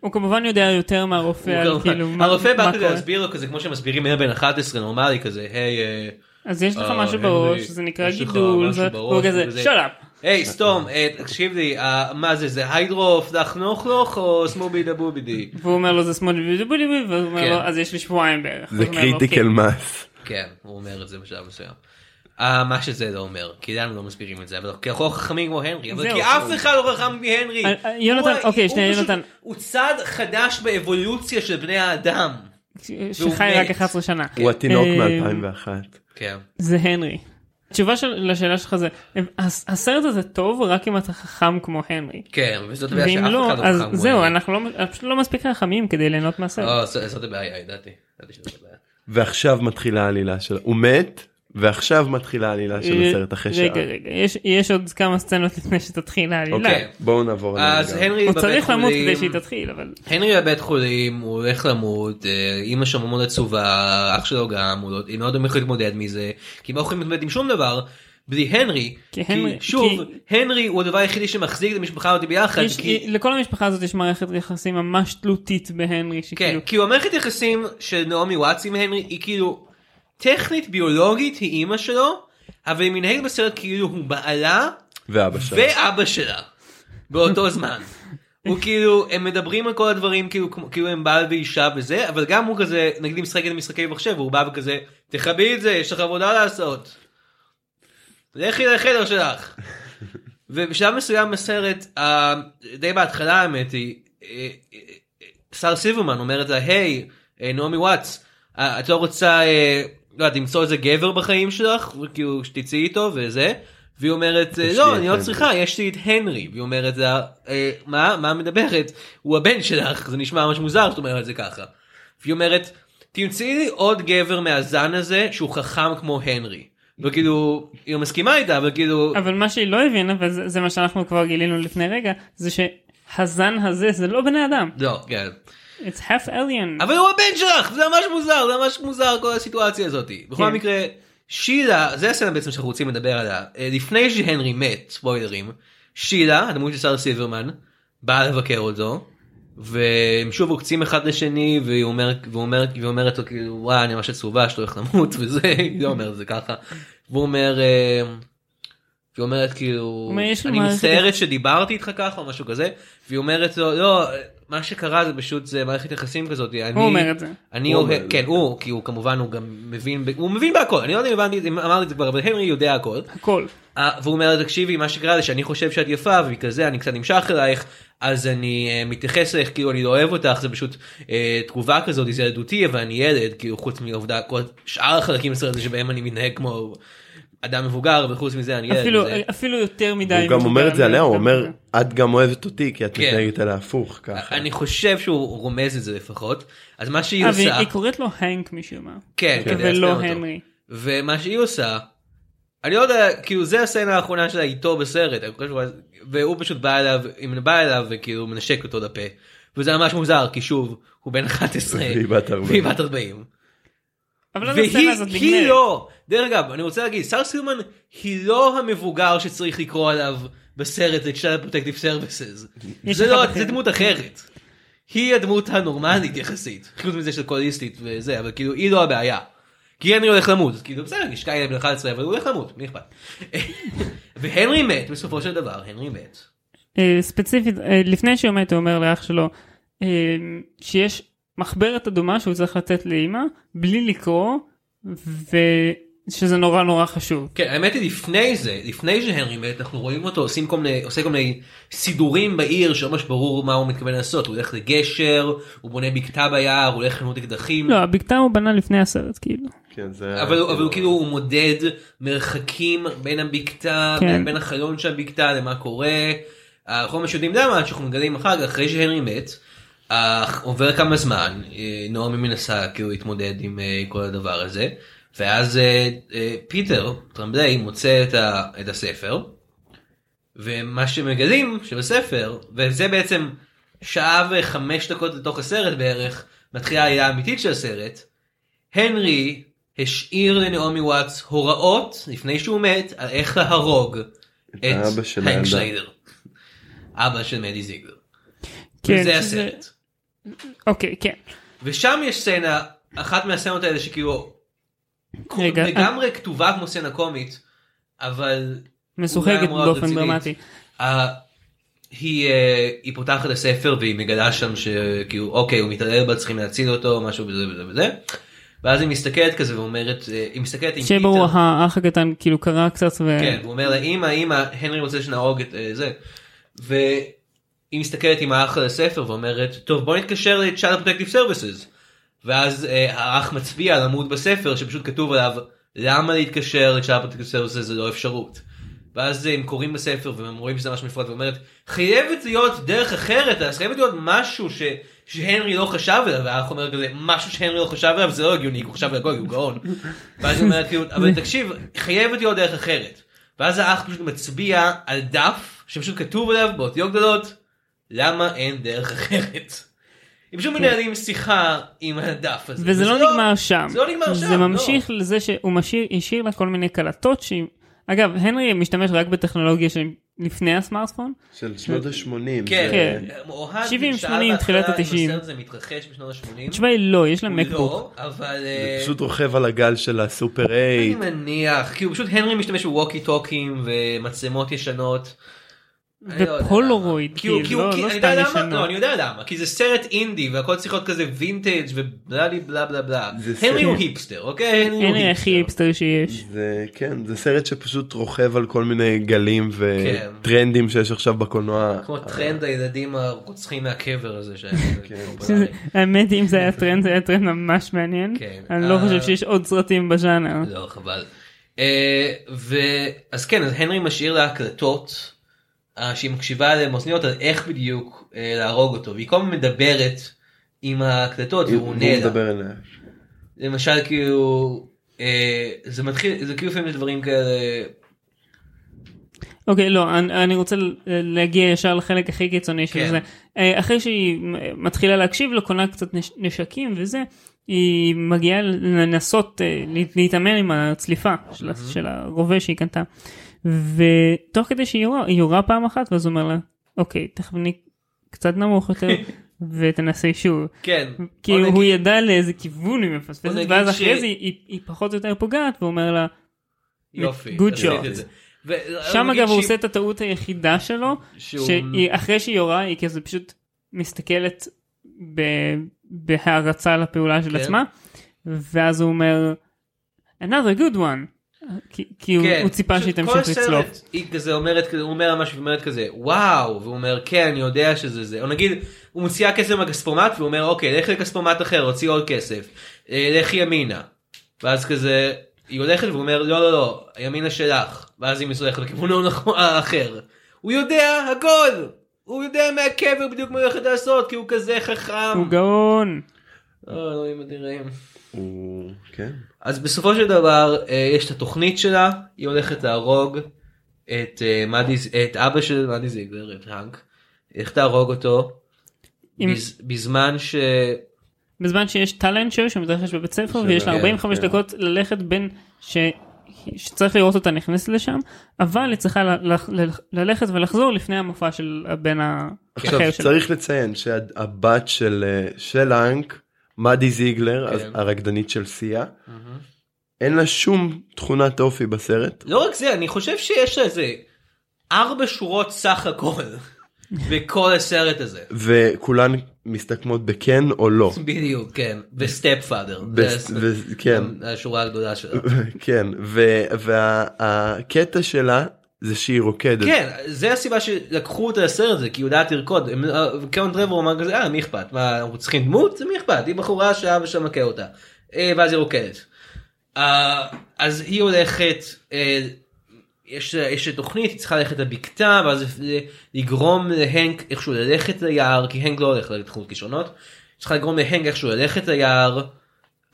A: הוא כמובן יודע יותר מהרופא,
C: הוא
A: על
C: גם-
A: כאילו מה
C: הרופא
A: מה
C: בא כדי
A: קורה.
C: להסביר לו כזה, כמו שמסבירים ילד בן 11 נורמלי כזה, היי, אה,
A: אז יש לך
C: אה,
A: משהו
C: הנרי,
A: בראש, זה נקרא
C: יש לך
A: גידול,
C: משהו
A: זה-
C: בראש,
A: הוא כזה,
C: וזה-
A: שולאפ.
C: היי סתום, אה, תקשיב לי, אה, מה זה, זה היידרוף, דח נוכלוך או סמובי דבובידי?
A: והוא אומר לו זה שמאל בדיבודי E", והוא אומר
C: כן.
A: לו אז יש לי שבועיים בערך.
D: זה
A: אז הוא אומר לו,
D: קריטיקל
A: "אוקיי."
D: מס.
C: כן, הוא אומר את זה בשלב מסוים. אה, מה שזה לא אומר, כי לנו לא מסבירים את זה, אבל כי אנחנו לא חכמים כמו הנרי, אבל
A: זהו.
C: כי אף אחד לא חכם מהנרי.
A: אה, אה, יונתן,
C: הוא-
A: אוקיי,
C: הוא
A: שנייה,
C: פשוט-
A: יונתן.
C: הוא צד חדש באבולוציה של בני האדם. והוא
A: "אוקיי." שחי
C: מת.
A: רק 11 שנה.
D: הוא התינוק
A: אה,
D: מ-2001.
C: כן.
A: זה הנרי. התשובה של- לשאלה שלך זה, הס- הסרט הזה טוב רק אם אתה חכם כמו הנרי.
C: כן, וזאת הבעיה
A: ואם
C: שאף
A: לא,
C: אחד לא
A: אז
C: חכם כמו
A: זהו,
C: הנרי.
A: אנחנו לא- פשוט לא מספיק חכמים כדי ליהנות מהסרט.
C: אה, ז- זאת הבעיה, ידעתי. ידעתי שזאת הבעיה.
D: ועכשיו מתחילה העלילה של הוא מת ועכשיו מתחילה העלילה של הסרט אחרי שעה.
A: אה, רגע, רגע, יש- יש עוד כמה סצנות לפני שתתחיל העלילה.
D: אוקיי בואו נעבור.
C: כן. אז
D: לעלילה.
C: הנרי
A: הוא
C: בבית
A: צריך למות כדי
C: חולים-
A: שהיא תתחיל, אבל...
C: הנרי בבית חולים, הוא הולך למות, אה, אימא שם מאוד עצובה, אח שלו גם, הוא לא- היא מאוד הולכת להתמודד מזה, כי הם לא יכולים להתמודד עם שום דבר. בלי הנרי,
A: כי
C: כי,
A: הנרי-
C: שוב, הנרי הוא הדבר היחידי שמחזיק את המשפחה הזאת ביחד,
A: יש- אה,
C: כי,
A: לכל המשפחה הזאת יש מערכת יחסים ממש תלותית בהנרי,
C: כן,
A: שכאילו...
C: כי הוא המערכת יחסים של נעמי וואטס עם הנרי היא כאילו, טכנית ביולוגית היא אימא שלו, אבל היא מנהלת בסרט כאילו הוא בעלה
D: ואבא שלה.
C: ואבא שלה באותו זמן. הוא כאילו הם מדברים על כל הדברים כאילו כמו- כאילו הם בעל ואישה וזה אבל גם הוא כזה נגיד היא משחקת במשחקי מחשב הוא בא וכזה תכבי את זה יש לך עבודה לעשות. לכי לחדר שלך. ובשלב מסוים בסרט אה, די בהתחלה האמת היא אה, אה, אה, שר סילברמן אומר את זה היי אה, נעמי וואטס אה, את לא רוצה אה, לא יודעת למצוא איזה גבר בחיים שלך כאילו שתצאי איתו וזה. והיא אומרת אה,
D: יש לי
C: לא
D: את
C: אני לא
D: הנרי."
C: צריכה יש לי את הנרי והיא אומרת לה "אה, מה מה מדברת הוא הבן שלך זה נשמע ממש מוזר שאת אומרת את זה ככה. והיא אומרת תמצאי לי עוד גבר מהזן הזה שהוא חכם כמו הנרי. וכאילו היא מסכימה איתה אבל כאילו
A: אבל מה שהיא לא הבינה, וזה זה מה שאנחנו כבר גילינו לפני רגע, זה שהזן הזה זה לא בני אדם.
C: לא כן.
A: It's half alien.
C: אבל הוא הבן שלך זה ממש מוזר זה ממש מוזר כל הסיטואציה הזאת בכל
A: כן.
C: מקרה שילה זה הסצנה בעצם שאנחנו רוצים לדבר עליה אה, לפני שהנרי מת ספוילרים שילה הדמות של שר סילברמן באה לבקר אותו והם שוב עוקצים אחד לשני והיא אומר ואומר ואומרת לו כאילו וואי אני ממש עצובה שאתה הולך למות וזה היא לא אומרת את זה ככה והוא אומר. אה, והיא אומרת כאילו,
A: אומר, "יש לי
C: אני
A: מערכת
C: מצטערת שדיברתי איתך ככה או משהו כזה, והיא אומרת לו, לא, מה שקרה זה פשוט זה מערכת יחסים כזאת, אני,
A: הוא אומר את זה.
C: אני
D: הוא
C: אוהב,
D: אומר.
C: כן, הוא, כי הוא כמובן, הוא גם מבין, ב- הוא מבין בהכל, אני לא יודע אם הבנתי, את זה, אם אמרתי את זה כבר, אבל הנרי יודע הכל.
A: הכל.
C: אה, והוא אומר לה תקשיבי מה שקרה זה שאני חושב שאת יפה ובגלל זה אני קצת נמשך אלייך אז אני אה, מתייחס אלייך כאילו אני לא אוהב אותך זה פשוט אה, תגובה כזאת זה ילדותי אבל אני ילד כאילו חוץ מהעובדה כל שאר החלקים בסרט הזה שבהם אני מתנהג כמו אדם מבוגר וחוץ מזה אני ילד.
A: אפילו,
C: וזה-
A: אפילו יותר מדי.
D: הוא גם
A: מבוגר
D: אומר את זה עליה, הוא אומר,
A: מבוגר.
D: את גם אוהבת אותי כי את
C: כן.
D: מתנהגת עליה הפוך, ככה.
C: אני חושב שהוא רומז את זה לפחות אז מה שהיא
A: אה,
C: עושה
A: והיא קוראת לו הנק משום מה.
C: כן כדי לעצבן
A: ולא
C: אותו.
A: לא הנרי.
C: ומה שהיא עושה. אני לא יודע כאילו זה הסצנה האחרונה שלה איתו בסרט אני חושב שהוא- והוא פשוט בא אליו אם בא אליו וכאילו מנשק אותו לפה. וזה ממש מוזר כי שוב הוא בן 11
D: והיא בת 40.
C: והיא בת 40.
A: אבל אז
C: והיא
A: הסצנה הזאת
C: היא
A: נגמרת.
C: לא דרך אגב אני רוצה להגיד שר סילמן היא לא המבוגר שצריך לקרוא עליו בסרט את שלל פרוטקטיב סרוויסס.
A: יש
C: זה
A: אחד
C: לא
A: אחר.
C: זה דמות אחרת. היא הדמות הנורמלית יחסית חוץ מזה של קוליסטית וזה אבל כאילו היא לא הבעיה. כי הנרי הולך למות אז כאילו בסדר נשקע ילד בן 11 אבל הוא הולך למות מי אכפת. והנרי מת בסופו של דבר הנרי מת.
A: אה, ספציפית, אה, לפני שהוא מת הוא אומר לאח שלו אה, שיש מחברת אדומה שהוא צריך לתת לאימא בלי לקרוא ושזה נורא נורא חשוב.
C: כן האמת היא לפני זה לפני שהנרי מת אנחנו רואים אותו עושים כל מיני עושה כל מיני סידורים בעיר שלא ממש ברור מה הוא מתכוון לעשות הוא הולך לגשר הוא בונה בקתה ביער הוא הולך לחנות אקדחים.
A: לא, הבקתה הוא בנה לפני הסרט כאילו.
D: כן, זה-
C: אבל, הוא- אבל הוא כאילו הוא מודד מרחקים בין הבקתה
A: כן.
C: בין החלון של הבקתה למה קורה. אנחנו לא ממש יודעים למה שאנחנו מגלים אחר כך אחרי שהנרי מת. אה, עובר כמה זמן אה, נעמי מנסה כאילו להתמודד עם אה, כל הדבר הזה ואז אה, אה, פיטר טרמבליי מוצא את, ה, את הספר ומה שמגלים שבספר וזה בעצם שעה וחמש דקות לתוך הסרט בערך מתחילה העלילה האמיתית של הסרט הנרי השאיר לנעמי וואטס הוראות לפני שהוא מת על איך להרוג את
D: האבא של
C: הנק
D: הילדה.
C: שניידר. אבא של מדי זיגלר. זה
A: כן, שזה-
C: הסרט.
A: אוקיי, כן.
C: ושם יש סצנה אחת מהסצנות האלה שכאילו
A: רגע,
C: לגמרי כתובה כמו סצנה קומית אבל
A: אה, משוחקת
C: אולי מאוד
A: באופן
C: רצינית.
A: דרמטי.
C: אה, היא אה, היא פותחת את הספר והיא מגלה שם שכאילו אוקיי הוא מתעלל בה צריכים להציל אותו משהו וזה וזה וזה. ואז היא מסתכלת כזה ואומרת אה, היא מסתכלת עם
A: שברור,
C: פיטר.
A: האח הקטן כאילו קרא קצת ו...
C: כן, והוא אומר לה אמא אמא הנרי רוצה שנהרוג את אה, זה. והיא מסתכלת עם האח על הספר ואומרת טוב בוא נתקשר ל-Child Protective Services. ואז אה, האח מצביע על עמוד בספר שפשוט כתוב עליו למה להתקשר ל-Child Protective Services זה לא אפשרות. ואז אה, הם קוראים בספר והם רואים שזה ממש מפרט ואומרת חייבת להיות דרך אחרת אז חייבת להיות משהו ש... שהנרי לא חשב עליו והאח אומר כזה משהו שהנרי לא חשב עליו זה לא הגיוני כי הוא חשב על הגוי הוא גאון. ואז היא אומרת כאילו אבל תקשיב חייבת להיות דרך אחרת. ואז האח פשוט מצביע על דף שפשוט כתוב עליו באותיות גדולות למה אין דרך אחרת. הם פשוט מנהלים שיחה עם הדף הזה.
A: כן. וזה לא נגמר שם.
C: זה לא נגמר שם.
A: זה
C: לא.
A: ממשיך לזה שהוא משאיר- השאיר לה כל מיני קלטות שהיא... אגב, הנרי משתמש רק בטכנולוגיה שלפני הסמארטפון.
D: של שנות ה-80.
C: כן,
A: כן.
C: אוהד
A: 70,
C: שאל
A: 80,
C: בהתחלה
A: תחילת
C: אם
A: ה-90.
C: הסרט הזה מתרחש בשנות ה-80.
A: התשובה היא לא, יש לה מקבוק.
C: לא, אבל
D: זה
A: כן.
C: אה,
D: פשוט רוכב על הגל של הסופר
C: אני
D: אייט.
C: מניח, כי הוא פשוט הנרי משתמש בווקי טוקים ומצלמות ישנות. אני לא יודע
A: ופולרויד,
C: למה. כי הוא-
A: כאילו,
C: כי הוא-
A: לא-
C: כי-
A: לא
C: אני
A: סתם
C: יודע למה?
A: ישנות.
C: לא, אני יודע למה, כי זה סרט אינדי והכל צריך להיות כזה וינטג' ובלה לי בלה בלה בלה.
D: זה
C: הנרי
D: סרט-
C: הוא היפסטר, אוקיי? הוא
A: הנרי הכי היפסטר שיש.
D: זה כן זה סרט שפשוט רוכב על כל מיני גלים
C: כן.
D: וטרנדים שיש עכשיו בקולנוע.
C: כמו טרנד הילדים הרוצחים מהקבר הזה שהיה.
A: שזה- האמת אם זה היה טרנד זה היה טרנד ממש מעניין.
C: כן.
A: אני לא
C: אה.
A: חושב שיש עוד סרטים בז'אנר.
C: לא חבל. אה, ו... אז כן אז הנרי משאיר לה הקלטות אה, שהיא מקשיבה עליהן אוזניות על איך בדיוק אה, להרוג אותו והיא כל הזמן מדברת עם ההקלטות והוא עונה לה.
D: מדבר אליה.
C: למשל כאילו אה, זה מתחיל זה כאילו לפעמים יש דברים כאלה
A: אוקיי לא אני, אני רוצה ל- להגיע ישר לחלק הכי קיצוני של
C: כן.
A: זה. אה, אחרי שהיא מתחילה להקשיב לו קונה קצת נש, נשקים וזה היא מגיעה לנסות אה, להת- להתאמן עם הצליפה של, ה- של הרובה שהיא קנתה. ותוך כדי שהיא יורה, היא יורה פעם אחת ואז הוא אומר לה אוקיי תכף אני קצת נמוך יותר ותנסי שוב.
C: כן
A: כי
C: בוא
A: כאילו הוא
C: נגיד-
A: נגיד... ידע לאיזה כיוון היא מפספסת
C: בוא נגיד
A: ואז
C: ש-
A: אחרי זה היא, היא פחות או יותר פוגעת והוא אומר לה
C: יופי
A: Good
C: עשית
A: job.
C: את זה. ו-
A: שם
C: נגיד
A: אגב הוא
C: שהיא-
A: עושה את הטעות היחידה שלו,
C: שהוא-
A: שהיא אחרי שהיא יורה היא כזה פשוט מסתכלת ב- בהערצה לפעולה של
C: כן.
A: עצמה, ואז הוא אומר, another good one, כי- כי הוא- הוא ציפה
C: כן, פשוט
A: שהיא
C: כל
A: תמשיך
C: הסרט,
A: לצלוף.
C: היא כזה אומרת, כזה- הוא אומר משהו, והיא אומרת כזה, וואו, והוא אומר, כן, אני יודע שזה זה. או נגיד, הוא מוציאה כסף מהכספומט, והוא אומר, אוקיי, לך לכספומט אחר, הוציא עוד כסף. אה, לך ימינה. ואז כזה, היא הולכת והוא אומר, לא, לא, לא, ימינה שלך. ואז היא מסולחת לכיוון הנכון- האחר. הוא יודע הכל! הוא יודע מהקבר בדיוק מה הוא הולך לעשות, כי הוא כזה חכם.
A: הוא גאון.
C: אה, אלוהים אדירים.
D: הוא... כן.
C: אז בסופו של דבר אה, יש את התוכנית שלה, היא הולכת להרוג את, אה, מאדי, ז- את אבא של מאדי זיגלר, את האנק, היא הולכת להרוג אותו,
A: עם-
C: בז, בזמן ש...
A: בזמן שיש טאלנט שואו שמתרחש בבית ספר ויש לה
D: כן,
A: 45
D: כן.
A: דקות ללכת בין ש... שצריך לראות אותה נכנסת לשם אבל היא צריכה ל- ל- ל- ללכת ולחזור לפני המופע של הבן
D: עכשיו
A: האחר שלה.
D: צריך לציין שהבת של אה, של האנק, מאדי זיגלר,
C: כן.
D: אז הרקדנית של סיה, אין לה שום תכונת אופי בסרט.
C: לא רק זה, אני חושב שיש לה איזה ארבע שורות סך הכל בכל הסרט הזה.
D: וכולן מסתכמות בכן או לא.
C: בדיוק, כן, וסטפ פאדר,
D: בס- ו- כן.
C: השורה הגדולה שלה.
D: כן, והקטע שלה זה שהיא רוקדת.
C: כן, זה הסיבה שלקחו אותה לסרט הזה, כי היא יודעת לרקוד. הם- אה, קרן טרבור אמר כזה, אה, מי אכפת? מה, אנחנו צריכים דמות? זה מי אכפת? היא בחורה שאבא שלה מכה אותה. אה, ואז היא רוקדת. אה, אז היא הולכת, אה, יש יש תוכנית, היא צריכה ללכת לבקתה, ואז אה, לגרום להנק איכשהו ללכת ליער, כי הנק לא הולך לתחום כישרונות. היא צריכה לגרום להנק איכשהו ללכת ליער,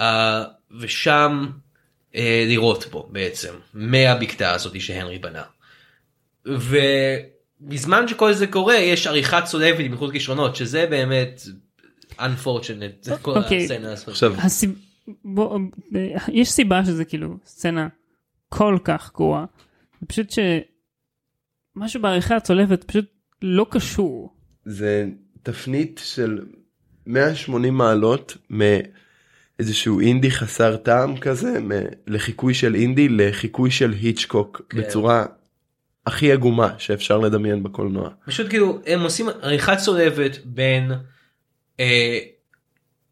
C: אה, ושם אה, לירות בו בעצם, מהבקתה הזאת שהנרי בנה. ובזמן שכל זה קורה יש עריכה צולבת עם איכות כישרונות שזה באמת unfortunate זה כל
A: אוקיי.
C: הסצנה הזאת.
D: עכשיו,
A: הסיב... בוא... אה, יש סיבה שזה כאילו סצנה כל כך גרועה. זה פשוט שמשהו בעריכה הצולבת פשוט לא קשור.
D: זה תפנית של 180 מעלות מאיזשהו אינדי חסר טעם כזה, מ- לחיקוי של אינדי לחיקוי של היצ'קוק
C: כן.
D: בצורה הכי עגומה שאפשר לדמיין בקולנוע.
C: פשוט כאילו הם עושים עריכה צולבת בין אה,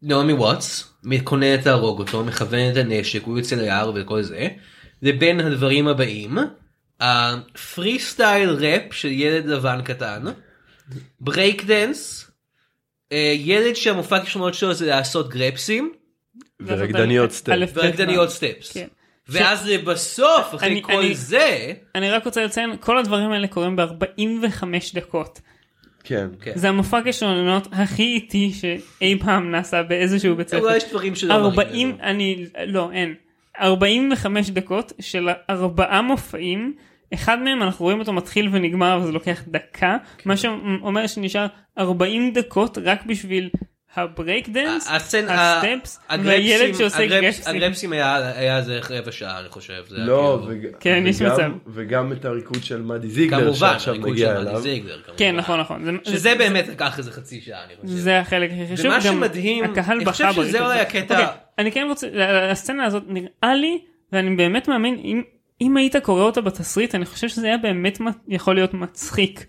C: נעמי וואטס מתכוננת להרוג אותו מכוון את הנשק הוא יוצא ליער וכל זה לבין הדברים הבאים הפרי סטייל ראפ של ילד לבן קטן ברייק דנס אה, ילד שהמופע כישרונות שלו זה לעשות גרפסים
D: ורקדניות
A: א',
D: סטייל.
A: ב',
C: ורקדניות
A: מה.
C: סטפס.
A: כן.
C: ואז בסוף אחרי
A: אני-
C: כל
A: אני-
C: זה
A: אני רק רוצה לציין כל הדברים האלה קורים ב-45 דקות.
D: כן.
C: כן.
A: זה המופע כישרונות הכי איטי שאי פעם נעשה באיזשהו בית ספר.
C: אולי יש דברים שלא מראים
A: 40
C: לנו.
A: אני לא אין 45 דקות של ארבעה מופעים אחד מהם אנחנו רואים אותו מתחיל ונגמר אבל זה לוקח דקה
C: כן.
A: מה שאומר שנשאר 40 דקות רק בשביל הברייק דנס
C: הסצנה-
A: הסטפס
C: הגרפסים-
A: והילד שעושה
C: הגרפס-
A: גרפסים.
C: הגרפסים היה היה איזה רבע שעה אני חושב. זה היה
D: לא,
C: כאילו-
D: וג-
A: כן, יש
D: וגם-
A: מצב.
D: וגם את הריקוד של מאדי זיגלר
C: כמובן,
D: שעכשיו
C: הריקוד
D: נגיע
C: של מאדי
D: אליו.
C: זיגלר, כמובן.
A: כן נכון נכון זה-
C: שזה באמת לקח איזה חצי שעה אני חושב.
A: זה החלק הכי חשוב.
C: ומה
A: גם
C: שמדהים,
A: הקהל
C: אני
A: בכה
C: חושב שזה
A: ברקע
C: אולי
A: הזה.
C: הקטע-
A: אוקיי, אני כן רוצה, הסצנה הזאת נראה לי, ואני באמת מאמין, אם, אם היית קורא אותה בתסריט, אני חושב שזה היה באמת מ- יכול להיות מצחיק.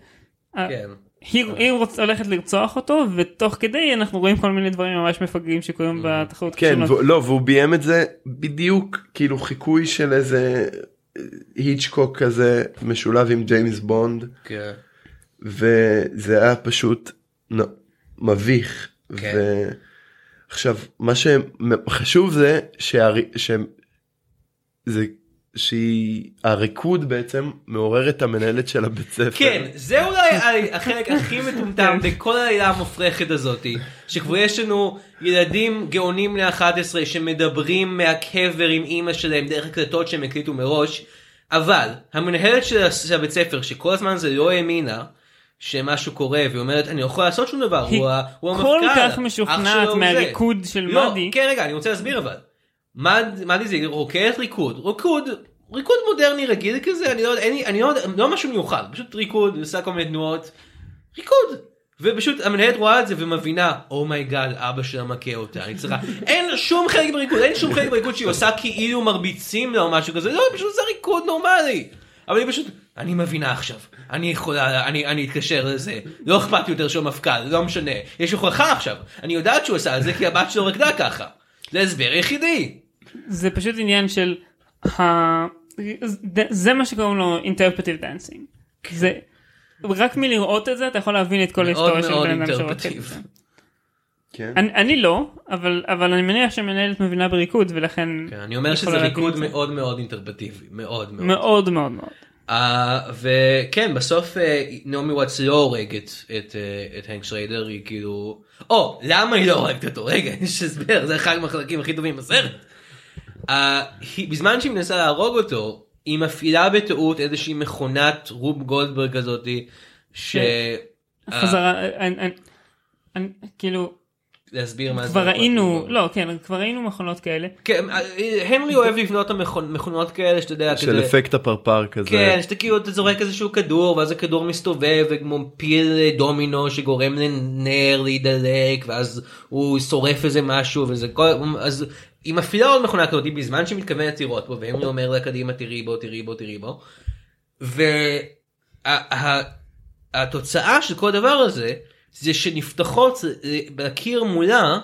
C: כן.
A: היא, היא רוצ, הולכת לרצוח אותו, ותוך כדי אנחנו רואים כל מיני דברים ממש מפגרים
C: Mm.
A: שקורים בתחרות.
D: כן,
A: כישרונות.
D: והוא- לא, והוא ביים את זה בדיוק כאילו חיקוי של איזה אה, היצ'קוק כזה משולב עם ג'יימס בונד.
C: כן.
D: וזה היה פשוט נ- מביך.
C: כן.
D: ו... עכשיו מה שחשוב זה שהר... ש... זה שהריקוד בעצם מעורר את המנהלת של הבית ספר.
C: כן, זה אולי ה- החלק הכי מטומטם
A: כן.
C: בכל העלילה המופרכת הזאתי, שכבר יש לנו ילדים גאונים ל-11 שמדברים מהקבר עם אימא שלהם דרך הקלטות שהם הקליטו מראש, אבל המנהלת של הס- של הבית ספר, שכל הזמן זה לא האמינה, שמשהו קורה והיא אומרת אני לא יכולה לעשות שום דבר,
A: היא
C: הוא ה- הוא המפכ"ל,
A: כל כך
C: אח
A: משוכנעת
C: שלו הוא זה."
A: מהריקוד של
C: לא,
A: מאדי.
C: כן רגע אני רוצה להסביר אבל. מד- מדי זה רוקד ריקוד ריקוד ריקוד מודרני רגיל כזה אני לא יודע אין לי- אני לא יודע לא משהו מיוחד פשוט ריקוד עושה כל מיני תנועות ריקוד ופשוט המנהלת רואה את זה ומבינה אומייגאד אבא שלה מכה אותה אני צריכה אין לה שום חלק בריקוד אין שום חלק בריקוד שהיא עושה כאילו מרביצים לה או משהו כזה לא פשוט זה ריקוד נורמלי אבל היא פשוט אני מבינה עכשיו, אני יכולה, אני, אני אתקשר לזה, לא אכפת לי יותר שהוא המפכ"ל, לא משנה, יש הוכחה עכשיו, אני יודעת שהוא עשה את זה כי הבת שלו רקדה ככה, זה הסבר יחידי.
A: זה פשוט עניין של ה... זה- זה מה שקוראים לו interpretive dancing. זה רק מלראות את זה אתה יכול להבין את כל ההיסטוריה של
C: כן. מאוד
A: בן אדם שרוצה
C: interpretive.
A: את זה.
D: כן.
A: אני, אני לא אבל אבל אני מניח שמנהלת מבינה בריקוד ולכן
C: כן, אני אומר שזה
A: יכולה
C: ריקוד
A: להבין את זה.
C: מאוד מאוד אינטרפרטיבי, מאוד מאוד.
A: מאוד מאוד מאוד.
C: Uh, וכן בסוף uh, נעמי וואטס לא הורגת את, uh, את הנק שריידר היא כאילו או למה היא לא הורגת אותו רגע יש הסבר זה אחד מהחלקים הכי טובים בסרט. Uh, היא, בזמן שהיא מנסה להרוג אותו היא מפעילה בטעות איזושהי מכונת רוב גולדברג כזאתי
A: כן.
C: אה.
A: חזרה אני- אני- אני- כאילו
C: שלהסביר מה זה.
A: כבר
C: רוב
A: ראינו
C: גולדברג.
A: לא כן כבר ראינו מכונות כאלה
C: כן, אה, הנרי אוהב לבנות את המכונות כאלה שאתה יודע
D: של
C: כזה-
D: אפקט הפרפר כזה.
C: כן, שאתה כאילו אתה זורק איזשהו כדור ואז הכדור מסתובב וכמו פיל דומינו שגורם לנר להידלק ואז הוא שורף איזה משהו וזה כל... אז היא מפעילה עוד מכונה כזאת בזמן שהיא מתכוונת לראות בו והמרי אומר לה קדימה תראי בו תראי בו תראי בו. והתוצאה של כל הדבר הזה זה שנפתחות אה, בקיר מולה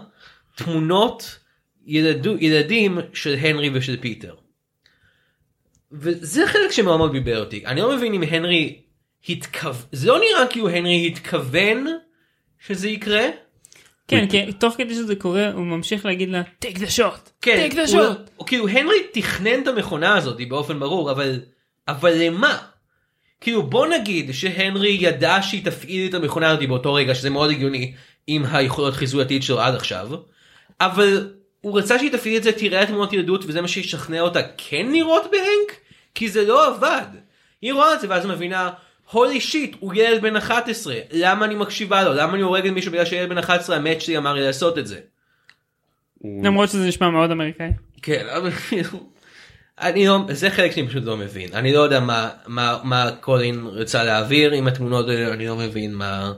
C: תמונות ילדו, ילדים של הנרי ושל פיטר. וזה חלק שמאוד מאוד ביבר אותי. אני לא מבין אם הנרי התכוון, זה לא נראה כאילו הנרי התכוון שזה יקרה.
A: כן כי תוך כדי שזה קורה הוא ממשיך להגיד לה take the shot.
C: כן,
A: take the
C: הוא,
A: shot.
C: הוא, כאילו הנרי תכנן את המכונה הזאת באופן ברור, אבל, אבל למה? כאילו בוא נגיד שהנרי ידע שהיא תפעיל את המכונה הזאת באותו רגע, שזה מאוד הגיוני עם היכולות חיזויתית שלו עד עכשיו, אבל הוא רצה שהיא תפעיל את זה, תראה תמונות ילדות וזה מה שישכנע אותה כן לראות בהנק? כי זה לא עבד. היא רואה את זה ואז מבינה, הולי שיט, הוא ילד בן 11, למה אני מקשיבה לו? למה אני הורגת מישהו בגלל שילד בן 11 המת שלי אמר לי לעשות את זה?
A: למרות שזה נשמע מאוד אמריקאי.
C: כן, אבל כאילו, אני לא, זה חלק שאני פשוט לא מבין. אני לא יודע מה, מה, מה קולין רצה להעביר עם התמונות האלה, אני לא מבין מה,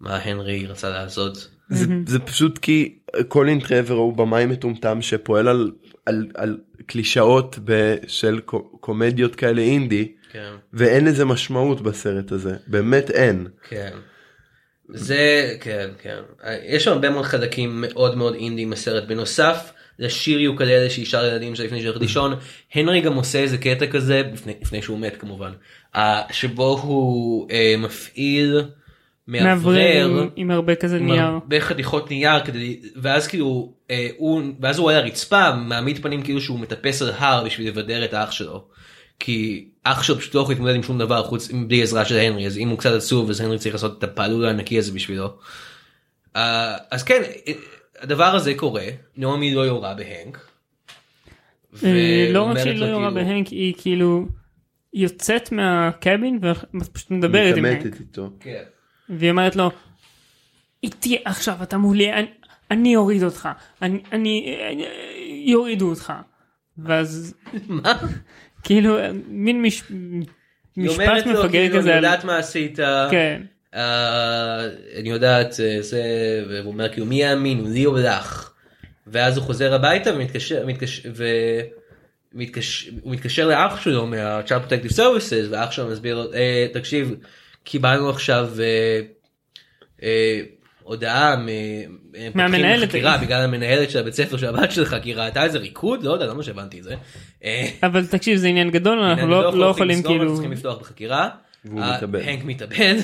C: מה הנרי רצה לעשות.
D: זה, זה פשוט כי קולין טרבר הוא במאי מטומטם שפועל על, על, על קלישאות ב, של קו- קומדיות כאלה אינדי
C: כן,
D: ואין לזה משמעות בסרט הזה באמת אין.
C: כן. זה, כן, כן. יש שם הרבה מאוד חלקים מאוד מאוד אינדיים בסרט. בנוסף, לשיר יוקללה שישר לילדים שלו לפני שהולך לישון, הנרי גם עושה איזה קטע כזה, לפני, לפני שהוא מת כמובן, אה, שבו הוא אה, מפעיל
A: מאוורר
C: מאוורר.
A: עם- עם הרבה כזה
C: עם
A: נייר.
C: הרבה חתיכות נייר כדי ואז כאילו אה, הוא ואז הוא על הרצפה מעמיד פנים כאילו שהוא מטפס על הר בשביל לבדר את האח שלו. כי אח שלו פשוט לא יכול להתמודד עם שום דבר חוץ בלי עזרה של הנרי אז אם הוא קצת עצוב אז הנרי צריך לעשות את הפעלול הענקי הזה בשבילו. אה, אז כן אה, הדבר הזה קורה נעמי לא יורה בהנק.
A: אה, לא רק
C: ואומרת
A: שהיא
C: לו,
A: לא יורה
C: כאילו,
A: בהנק היא כאילו יוצאת מהקבין ופשוט מדברת עם הנק
D: מתעמתת איתו.
C: כן.
A: והיא אומרת לו איתי עכשיו אתה מולי אני- אני אוריד אותך אני אני אני- יורידו אותך ואז
C: מה?
A: כאילו מין מש-
C: היא
A: משפט
C: אומרת לו
A: מפגר
C: כאילו אני
A: כזה על-
C: יודעת מה עשית.
A: כן
C: אה, אני יודעת אה, זה והוא אומר כאילו מי יאמין לי או לך. ואז הוא חוזר הביתה ומתקשר מתקשר ו... מתקשר, הוא מתקשר לאח שלו מה-Child Protective Services ואח שלו מסביר לו אה, תקשיב קיבלנו עכשיו אה, אה, הודעה מ- אה, פותחים
A: מהמנהלת.
C: חקירה בגלל המנהלת של הבית ספר של הבת שלך כי היא ראתה איזה ריקוד לא יודע למה שהבנתי את זה. אה,
A: אבל תקשיב זה עניין גדול אנחנו
C: אנחנו
A: לא לא יכולים
C: לסגור, אנחנו
A: כאילו
C: צריכים לפתוח בחקירה.
D: והוא
C: אה,
D: מתאבד.
C: הנק מתאבד.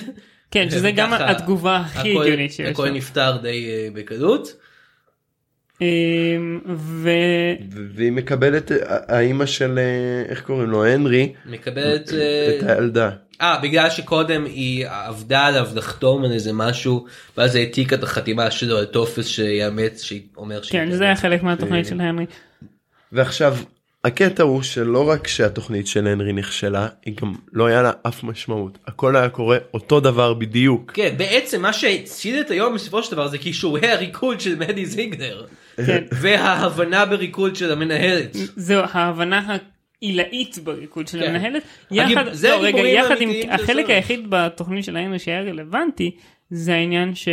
A: כן, שזה גם
C: וככה
A: התגובה הכי
C: הכל-
A: הגיונית שיש
C: הכל
A: שם.
C: נפתר די אה, בקלות.
A: אמ, ו...
D: ו- והיא מקבלת אה, האימא של אה, איך קוראים לו הנרי
C: מקבלת...
D: את הילדה.
C: אה, בגלל שקודם היא עבדה עליו לחתום על איזה משהו, ואז היא העתיקה את החתימה שלו על טופס שיאמץ, שאומר שהיא...
A: כן, שזה היה חלק מהתוכנית של הנרי.
D: ועכשיו הקטע הוא שלא רק שהתוכנית של הנרי נכשלה היא גם לא היה לה אף משמעות הכל היה קורה אותו דבר בדיוק.
C: כן, בעצם מה שהציל את היום בסופו של דבר זה כישורי הריקוד של מדי זיגנר.
A: כן.
C: וההבנה בריקוד של המנהלת.
A: זהו ההבנה העילאית בריקוד של
C: כן.
A: המנהלת.
C: הגיב-
A: יחד,
C: זה
A: לא, רגע,
C: הגיבורים
A: יחד עם
C: האמיתיים של
A: החלק
C: הסרט.
A: היחיד בתוכנית של הנרי שהיה רלוונטי, זה העניין ש...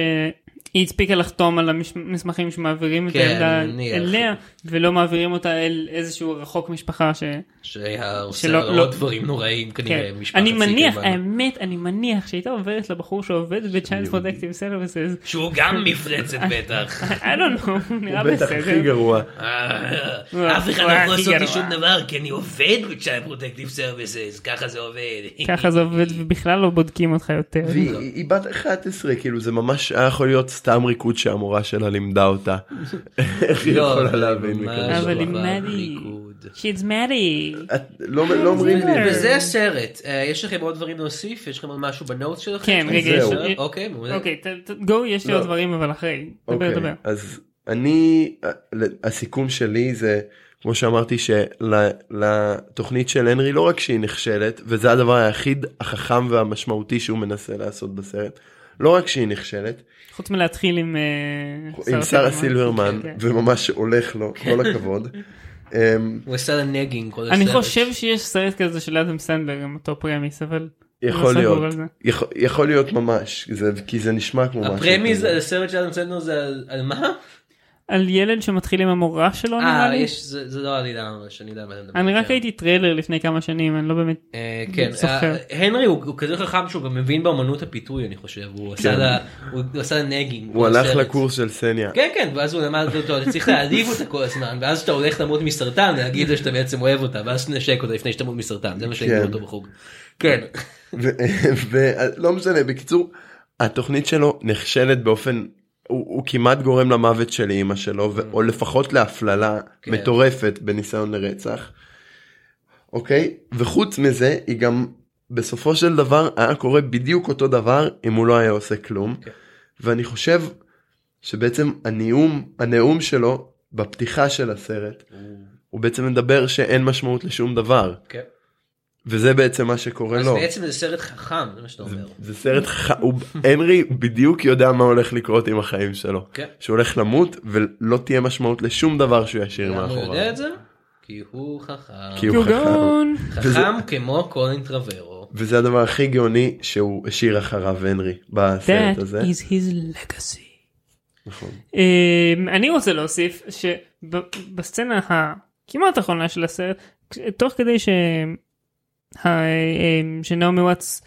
A: היא הספיקה לחתום על המסמכים שמעבירים את
C: כן,
A: הילדה
C: נניח.
A: אליה, ולא מעבירים אותה אל איזשהו רחוק משפחה ש...
C: שהיה עושה
A: שלא- לא-
C: עוד דברים נוראים כנראה
A: כן.
C: משפחת
A: אני מניח,
C: סיקרמן.
A: האמת, אני מניח שהייתה עוברת לבחור שעובד ב-Child Protective Services,
C: שהוא גם מפלצת בטח.
A: I don't know, נראה
D: הוא בטח הכי
A: בסדר.
D: גרוע.
C: אה,
A: הוא
C: אף אחד לא
A: הכי
C: יכול לעשות לי
A: גרוע.
C: שום דבר כי אני עובד בצ'יי פרוטקטיב סרוויסס ככה זה עובד.
A: ככה זה עובד ובכלל לא בודקים אותך יותר.
D: והיא היא בת 11 כאילו זה ממש היה יכול להיות סתם ריקוד שהמורה שלה לימדה אותה. איך היא
C: לא,
D: יכולה
C: אבל
D: להבין
C: ממש לא.
D: מכאן?
A: אבל היא
C: אבל
A: מאדי.
C: ריקוד.
A: She's Maddie.
D: לא לא אומרים
A: אה.
D: לי. את זה.
C: וזה הסרט אה, יש לכם עוד דברים להוסיף יש לכם עוד משהו בנוט שלכם?
A: כן,
C: שאתם
A: רגע,
C: רוצים
D: יש-
C: לשאול? אוקיי מעולה.
A: אוקיי, ת- ת- go, יש לי
D: לא.
A: עוד דברים אבל אחרי, דבר
D: אוקיי,
A: דבר.
D: אז אני, הסיכום שלי זה, כמו שאמרתי, שלתוכנית של הנרי לא רק שהיא נכשלת, וזה הדבר היחיד החכם והמשמעותי שהוא מנסה לעשות בסרט, לא רק שהיא נכשלת,
A: חוץ מלהתחיל עם אה,
D: עם שרה סילברמן,
A: כן.
D: וממש הולך לו, כל הכבוד. אמ,
C: הוא עשה לה נגינג כל הסרט.
A: אני חושב שיש סרט כזה של אדם סנדלר עם אותו פרמיס אבל
D: יכול
A: לא סגור
D: להיות,
A: על זה.
D: יכול- יכול להיות ממש, זה- כי זה נשמע כמו משהו.
C: הפרמיז
D: לא כזה.
C: הסרט של אדם סנדלר זה על- על מה?
A: על ילד שמתחיל עם המורה שלו לא נראה
C: אה
A: לי.
C: יש זה זה לא עלילה ממש אני יודע מה אתה מדבר.
A: אני רק
C: כן.
A: ראיתי טריילר לפני כמה שנים אני לא באמת
C: אה, כן,
A: זוכר.
C: אה, הנרי הוא הוא כזה חכם שהוא גם מבין באמנות הפיתוי אני חושב, הוא עשה לה- הוא עשה לה נגינג.
D: כן. הוא הלך
C: בסרט.
D: לקורס של סניה.
C: לא כן כן ואז הוא למד אותו אתה צריך להעליב אותה כל הזמן ואז כשאתה הולך למות מסרטן להגיד לה שאתה בעצם אוהב אותה ואז תנשק אותה לפני שאתה מות מסרטן זה מה שהגיע
D: כן.
C: אותו בחוג. כן.
D: ולא לא משנה בקיצור התוכנית שלו נכשלת באופן הוא, הוא כמעט גורם למוות של אימא שלו ו- או לפחות להפללה
C: Mm. כן.
D: מטורפת בניסיון לרצח. אוקיי וחוץ מזה היא גם בסופו של דבר היה קורה בדיוק אותו דבר אם הוא לא היה עושה כלום
C: כן.
D: ואני חושב שבעצם הנאום הנאום שלו בפתיחה של הסרט הוא בעצם מדבר שאין משמעות לשום דבר
C: כן.
D: וזה בעצם מה שקורה
C: אז
D: לו.
C: בעצם זה סרט חכם זה מה שאתה אומר.
D: לא. זה סרט ח... הוא... הנרי בדיוק יודע מה הולך לקרות עם החיים שלו.
C: כן.
D: שהוא הולך למות ולא תהיה משמעות לשום דבר שהוא ישאיר
C: למה הוא
D: מאחוריו.
C: יודע את זה? כי הוא חכם.
D: כי הוא חכם.
A: גאון.
C: חכם כמו קולין טרוורו.
D: וזה הדבר הכי גאוני שהוא השאיר אחריו הנרי בסרט
A: That
D: הזה.
A: is his legacy.
D: נכון.
A: אמ, אני רוצה להוסיף שבסצנה הכמעט האחרונה של הסרט כש- תוך כדי ש... ה- אמ, שנעמי וואטס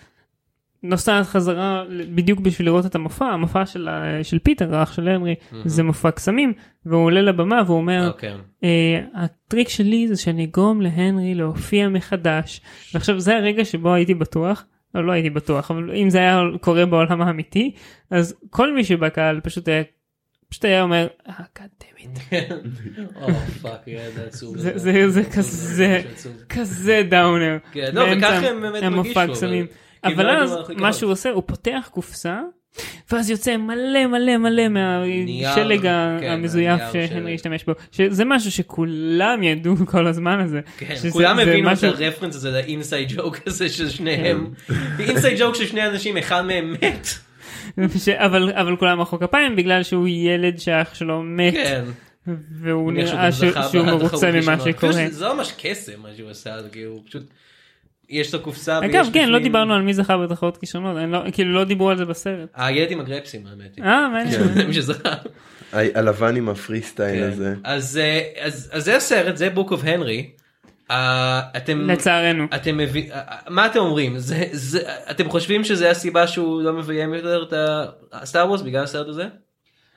A: נוסעת חזרה ל- בדיוק בשביל לראות את המופע המופע של, ה- של פיטר האח של הנרי זה מופע קסמים והוא עולה לבמה והוא אומר
C: אוקיי.
A: אה, הטריק שלי זה שאני אגרום להנרי להופיע מחדש ועכשיו זה הרגע שבו הייתי בטוח. לא, לא הייתי בטוח, אבל אם זה היה קורה בעולם האמיתי, אז כל מי שבקהל פשוט היה, פשוט היה אומר, אה, God damn it.
C: או פאק זה עצוב.
A: זה- זה- זה כזה-
C: עצוב.
A: כזה דאונר.
C: כן, לא,
A: באמצע
C: וככה הם באמת
A: המופע
C: מרגישו,
A: הקסמים.
C: אבל-
A: אבל
C: כאילו,
A: אז
C: הדבר הכי
A: מה
C: גדול.
A: שהוא עושה, הוא פותח קופסה, ואז יוצא מלא מלא מלא מהשלג ה-
C: כן,
A: המזויף
C: הנייר
A: שהנרי
C: של-
A: השתמש בו. שזה משהו שכולם ידעו כל הזמן הזה.
C: כן,
A: שזה-
C: כולם
A: זה
C: הבינו את
A: משהו-
C: הרפרנס הזה לאינסייד ג'וק הזה של שניהם.
A: כן.
C: אינסייד ג'וק של שני אנשים אחד מהם מת.
A: ש... אבל, אבל כולם מחאו כפיים בגלל שהוא ילד שאח שלו מת,
C: כן.
A: והוא
C: מניח שהוא
A: נראה
C: גם
A: ש...
C: זכה
A: שהוא
C: בתחרות
A: מרוצה ממה
C: ראשונה.
A: שקורה.
C: פשוט זה לא ממש קסם מה שהוא עשה, זה כאילו פשוט יש לו קופסה.
A: אגב,
C: ויש
A: כן, לא
C: בפנים-
A: דיברנו על מי זכה בתחרות כישרונות, אני לא, כאילו לא דיברו על זה בסרט.
C: הילד עם הגרפסים האמת. היא.
A: אה, מעניין.
C: זה מי שזכה.
D: ה- הלבן עם הפרי סטייל
C: כן.
D: הזה.
C: אז אה, אז אז זה הסרט זה בוק אוף הנרי. אה, אתם
A: לצערנו.
C: אתם מבין אה, מה אתם אומרים זה זה אתם חושבים שזה הסיבה שהוא לא מביים יותר את הסטאר וורס בגלל הסרט הזה?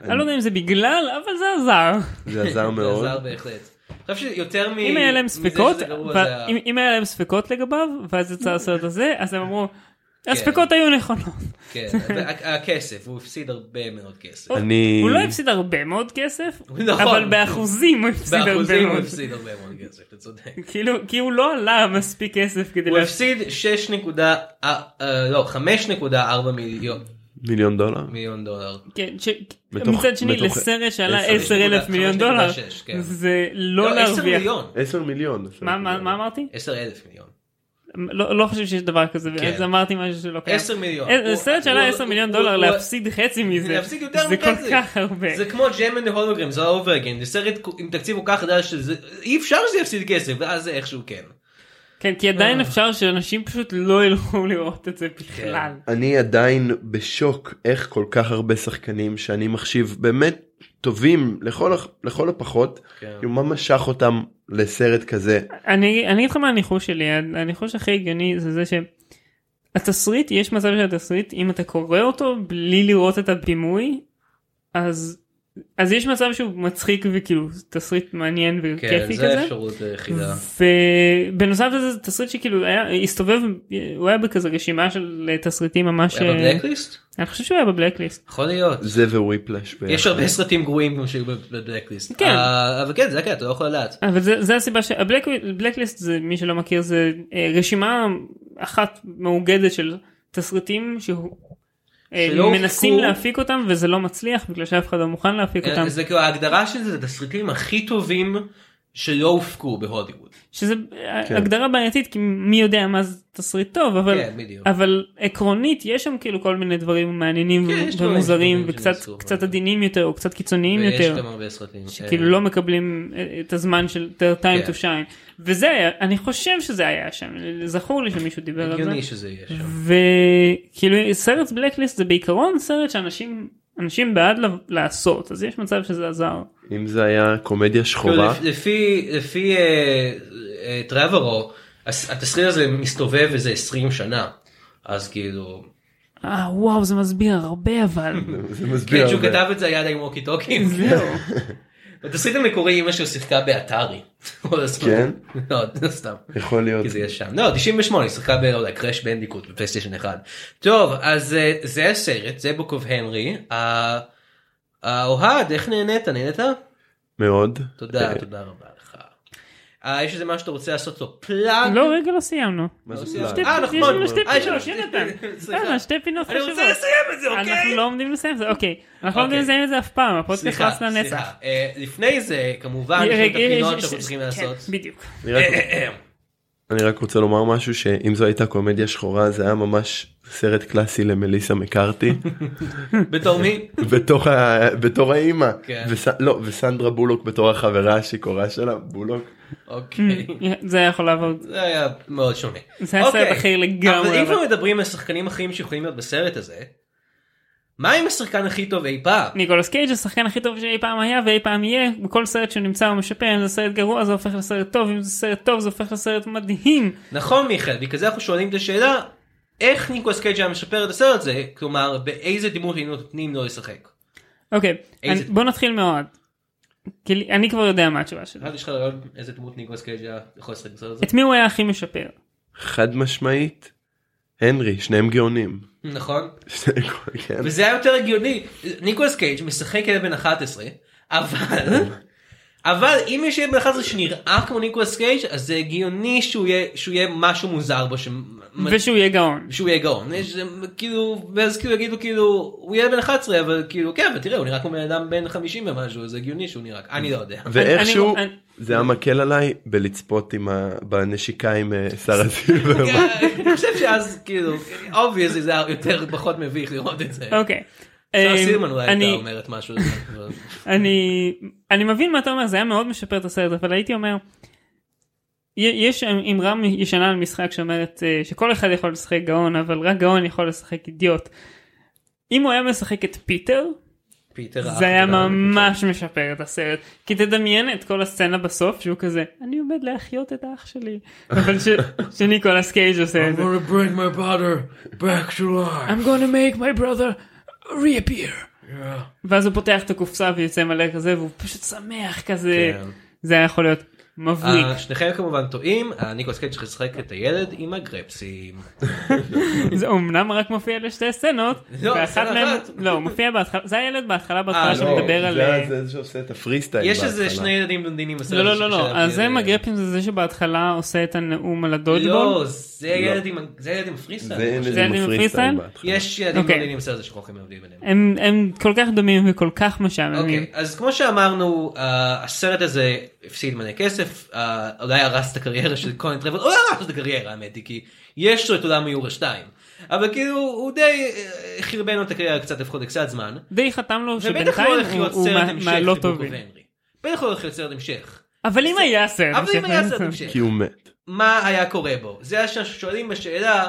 A: אני לא יודע אם זה בגלל, אבל זה עזר.
D: זה עזר מאוד.
C: זה עזר בהחלט. אני חושב שיותר מ...
A: אם היה להם
C: מזה שזה
A: ספקות,
C: גרוע,
A: ו-
C: זה ה-
A: אם- אם היה להם ספקות לגביו, ואז יצא הסרט הזה, אז הם אמרו, הספקות היו נכונות.
C: כן, וה- הכסף, הוא הפסיד הרבה מאוד כסף.
D: אני-
A: הוא לא הפסיד הרבה מאוד כסף,
C: נכון.
A: אבל באחוזים הוא הפסיד הרבה
C: באחוזים הוא
A: מאוד.
C: הפסיד הרבה מאוד כסף, אתה צודק.
A: כאילו, כי הוא לא עלה מספיק כסף כדי
C: הוא
A: להפסיד.
C: הפסיד 6 נקודה, לא, 5.4 מיליון-
D: מיליון דולר.
C: מיליון דולר.
A: כן, ש...
D: בתוך-
A: מצד שני,
D: בתוך-
A: לסרט שעלה
D: עשר.
A: 10 אלף מיליון דולר,
C: 5.6, כן.
A: זה לא
C: לא, 10
A: להרוויח.
C: מיליון. כן.
D: 10 מיליון.
A: מה- מה מה אמרתי?
C: 10 אלף מיליון.
A: לא לא חושב שיש דבר כזה,
C: כן.
A: אז אמרתי משהו שלא קיים.
C: 10 מיליון.
A: אה,
C: הוא-
A: סרט שעלה
C: הוא-
A: 10 מיליון
C: הוא-
A: דולר,
C: הוא-
A: להפסיד חצי מזה,
C: להפסיד יותר
A: זה כל
C: מחצי.
A: כך הרבה.
C: זה כמו ג'ם אנד הולוגרם, זה all over again, זה סרט עם תקציב כל כך חדש, שזה- אי אפשר שזה יפסיד כסף, ואז זה איכשהו כן.
A: כן, כי עדיין אפשר שאנשים פשוט לא ילכו לראות את זה
C: כן.
A: בכלל.
D: אני עדיין בשוק איך כל כך הרבה שחקנים שאני מחשיב באמת טובים לכל, הח- לכל הפחות,
C: כן.
D: כאילו, מה משך אותם לסרט כזה?
A: אני אני אגיד לך מה הניחוש שלי, הניחוש הכי הגיוני זה זה שהתסריט, יש מצב שהתסריט, אם אתה קורא אותו בלי לראות את הבימוי, אז... אז יש מצב שהוא מצחיק וכאילו תסריט מעניין
C: כן,
A: וכיפי
C: זה
A: כזה.
C: האפשרות היחידה.
A: ובנוסף לזה זה תסריט שכאילו היה הסתובב הוא היה בכזה רשימה של תסריטים ממש אה,
C: היה בבלקליסט?
A: אני חושב שהוא היה בבלקליסט.
C: יכול להיות.
D: זה וויפלאש. ביחד.
C: יש הרבה סרטים גרועים גם שהיו בבלקליסט.
A: כן.
C: אה, אבל כן, זה כן, אתה לא יכול לדעת.
A: אבל זה, אה, זה הסיבה שהבלקליסט זה מי שלא מכיר זה אה, רשימה אחת מאוגדת של תסריטים שהוא אה,
C: שלא
A: מנסים
C: הופקו.
A: להפיק אותם וזה לא מצליח בגלל שאף אחד לא מוכן להפיק אותם
C: זה כאילו ההגדרה של זה, זה התסריטים הכי טובים שלא הופקו בהוליווד.
A: שזה אה, הגדרה בעייתית כי מי יודע מה זה תסריט טוב אבל
C: כן, בדיוק.
A: אבל עקרונית יש שם כאילו כל מיני דברים מעניינים
C: כן, יש דברים
A: ומוזרים
C: טובים
A: וקצת
C: שנעשו.
A: קצת עדינים יותר או קצת קיצוניים
C: ויש
A: יותר.
C: גם הרבה סרטים.
A: שכאילו לא מקבלים אה, את הזמן של their time
C: אה, כן.
A: to shine וזה היה אני חושב שזה היה שם זכור לי שמישהו דיבר על זה
C: הגיוני שזה יהיה שם.
A: וכאילו סרט בלקליסט זה בעיקרון סרט שאנשים אנשים בעד ל- לעשות אז יש מצב שזה עזר
D: אם זה היה קומדיה
C: כאילו,
D: שחורה,
C: לפ- לפי לפי אה, אה, טרוורו הס- התסריט הזה מסתובב איזה 20 שנה אז כאילו
A: אה וואו זה מסביר הרבה אבל
D: זה
C: כן
D: מסביר
C: שהוא
D: הרבה.
C: כתב את זה היה עם ווקי טוקים
A: זהו
C: בתסריט המקורי אמא שלו שיחקה באתרי.
D: כן?
C: לא זה סתם.
D: יכול להיות.
C: כי זה ישן. לא 98 היא שיחקה ב- לא יודע, קראש בנדיקוט בפלייסטיישן 1. טוב אז אה, זה הסרט זה בוק אוף הנרי. אוהד איך נהנית נהנית?
D: מאוד.
C: תודה
D: אה,
C: תודה רבה לך. אה, יש איזה משהו שאתה רוצה לעשות לו פלאג?
A: לא רגע לא סיימנו.
D: מה זה
C: לא,
D: פלאג?
A: שתי-
C: אה,
A: יש
C: נכון.
A: לנו שתי
C: אה, יש לנו
A: פינות,
C: שתי
A: יונתן.
C: פינות, סליחה.
A: יאללה, שתי פינות
C: אני
A: חשובות.
C: רוצה לסיים את זה, אוקיי?
A: אנחנו לא עומדים לסיים את זה, אוקיי. אנחנו לא עומדים
C: אוקיי.
A: לסיים את זה אף פעם, הפודקאסט
C: סליחה,
A: רץ
C: סליחה.
A: לנצח.
C: אה, לפני זה כמובן יש לנו את
A: רגע,
C: הפינות
A: ש-
C: שאנחנו
A: ש-
C: צריכים
A: כן,
C: לעשות.
A: בדיוק.
D: אני רק- אני רק רוצה לומר משהו שאם זו הייתה קומדיה שחורה זה היה ממש סרט קלאסי למליסה מקארתי
C: בתור מי?
D: בתור ה- בתור האימא
C: כן.
D: וס- לא, וסנדרה בולוק בתור החברה השיכורה שלה בולוק
A: כן.
C: אוקיי.
A: Mm, זה היה יכול לעבור.
C: זה היה מאוד שונה.
A: זה היה סרט
C: אוקיי.
A: אחר לגמרי,
C: אבל אם
A: אבל-
C: כבר מדברים על שחקנים אחרים שיכולים להיות בסרט הזה, מה עם השחקן הכי טוב אי פעם?
A: ניקולס קייג' זה השחקן הכי טוב שאי פעם היה ואי פעם יהיה בכל סרט שהוא נמצא הוא משפר אם זה סרט גרוע זה הופך לסרט טוב אם זה סרט טוב זה הופך לסרט מדהים
C: נכון מיכאל, בגלל זה אנחנו שואלים את השאלה, איך ניקולס קייג' היה משפר את הסרט הזה? כלומר, באיזה דימות היינו נותנים לו לשחק?
A: אוקיי
C: איזה-
A: אני- בוא נתחיל מאוהד. כי לי- אני כבר יודע מה התשובה שלי
C: אחד, יש לך רעיון איזה דמות ניקולס קייג' היה יכול לשחק בסרט הזה?
A: את מי הוא היה הכי משפר
D: חד משמעית הנרי שניהם גאונים.
C: נכון?
D: שניהם כן.
C: וזה היה יותר הגיוני ניקולס קייג' משחק ילד בן 11 אבל
A: אה?
C: אבל אם יש ילד בן 11 שנראה כמו ניקולס קייג' אז זה הגיוני שהוא יהיה שהוא יהיה משהו מוזר בו
A: ושהוא יהיה גאון.
C: שהוא יהיה גאון יש, כאילו ואז כאילו יגידו כאילו הוא ילד בן 11 אבל כאילו כן אבל תראה הוא נראה כמו בן אדם בן 50 ומשהו זה הגיוני שהוא נראה אני לא יודע.
D: ואיכשהו
A: אני- אני-
D: זה היה מקל עליי בלצפות עם ה- בנשיקה עם אה, שרה
A: כן.
D: זילברמן.
C: אני חושב שאז כאילו obviously זה היה יותר פחות מביך לראות את זה.
A: אוקיי.
C: שרה
A: אמ,
C: סילמן אולי
A: אני-
C: הייתה אומרת משהו. על זה, אבל-
A: אני אני מבין מה אתה אומר זה היה מאוד משפר את הסרט אבל הייתי אומר י- יש אמרה ישנה על משחק שאומרת אה, שכל אחד יכול לשחק גאון אבל רק גאון יכול לשחק אידיוט. אם הוא היה משחק את פיטר
C: פיטר האח
A: זה היה
C: הגדול.
A: ממש משפר את הסרט כי תדמיין את כל הסצנה בסוף שהוא כזה אני עומד להחיות את האח שלי אבל ש- שניקולס קייג' עושה את זה.
B: gonna bring my brother back to life.
A: I'm gonna make my brother reappear. ואז הוא פותח את הקופסה ויוצא מלא כזה והוא פשוט שמח כזה.
C: כן.
A: זה היה יכול להיות מבריק.
C: אה, שניכם כמובן טועים, אה, ניקולס קייג' ששיחק את הילד עם הגרפסים.
A: זה אמנם רק מופיע לשתי סצנות.
C: לא,
A: ואחת
C: סצנה
A: מהם-
C: אחת.
A: לא, הוא מופיע בהתחלה, זה הילד בהתחלה בהתחלה
C: אה, לא,
A: שמדבר על...
D: זה זה שעושה את הפרי סטייל.
C: יש איזה שני ילדים בלונדינים בסרט.
A: לא לא
C: הזה
A: לא לא,
C: של-
A: אז זה
C: אה,
A: עם הגרפים זה זה שבהתחלה עושה את הנאום על
C: לא,
A: הדודבול.
C: זה ילד עם- זה ילד עם פריסטייל.
D: זה
C: אני חושב.
A: זה
D: אין
A: עם
D: איזה
A: הפרי סטייל?
D: פרי סטייל בהתחלה.
C: יש ילדים
A: אוקיי.
C: בלונדינים בסרט הזה שאנחנו יכולים להבדיל ביניהם.
A: הם הם כל כך דומים וכל כך משעממים.
C: אוקיי, אז כמו שאמרנו, אה, הסרט הזה הפסיד מלא כסף, אה, אולי הרס את הקריירה של קולן טרבל, אולי הרס לא את הקריירה האמת היא, כי יש לו את עולם מיורה 2. אבל כאילו, הוא די אה, חרבן לו את הקריירה קצת לפחות לקצת זמן.
A: די חתם לו
C: ובטח לא
A: שבינתיים
C: הולך
A: הוא-
C: להיות
A: הוא
C: סרט
A: מה-
C: המשך
A: מהלא
C: לבוק
A: טובים.
C: אוף הנרי. בטח לא הולך להיות סרט המשך.
A: אבל אם היה סרט
C: אבל אם היה סרט
A: המשך.
C: המשך.
D: כי הוא מת.
C: מה היה קורה בו? זה שאנחנו שואלים בשאלה,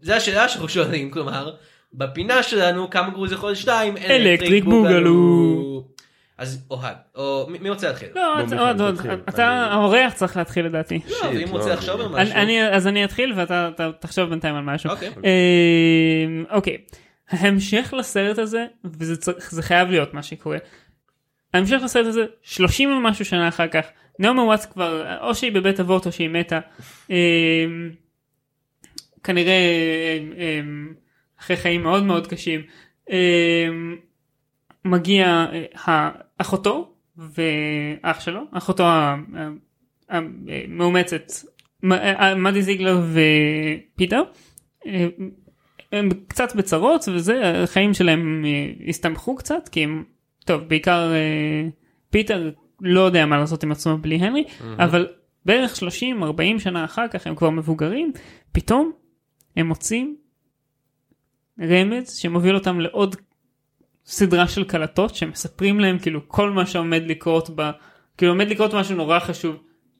C: זה השאלה שאנחנו שואלים, כלומר, בפינה שלנו כמה גרוז יכול להיות שתיים,
A: אלקטריק בוגלו.
C: אז אוהד, או מי- מי רוצה להתחיל?
A: לא,
D: בוא,
A: עוד,
D: מיכאל,
A: עוד, עוד,
D: תתחיל.
A: אתה
D: אני-
A: האורח צריך להתחיל לדעתי.
C: לא, אבל אם
D: שיט,
C: רוצה
D: לא,
C: לחשוב על
A: אני-
C: משהו.
A: אני- אז אני אתחיל ואתה אתה תחשוב בינתיים על משהו.
C: אוקיי.
A: אה, אוקיי. ההמשך לסרט הזה, וזה צריך- זה חייב להיות מה שקורה. ההמשך לסרט הזה, 30 ומשהו שנה אחר כך, נעמה וואטס כבר, או שהיא בבית אבות או שהיא מתה. אה, כנראה אה, אה, אחרי חיים מאוד מאוד קשים. אה, מגיע אה, ה- אחותו ואח שלו, אחותו ה- ה- המאומצת, מ- אה, מדי זיגלר ופיטר, אה, הם קצת בצרות וזה, החיים שלהם אה, הסתבכו קצת, כי הם, טוב, בעיקר אה, פיטר לא יודע מה לעשות עם עצמו בלי הנרי, אבל בערך 30-40 שנה אחר כך הם כבר מבוגרים, פתאום הם מוצאים רמז שמוביל אותם לעוד סדרה של קלטות שמספרים להם כאילו כל מה שעומד לקרות ב... כאילו עומד לקרות משהו נורא חשוב.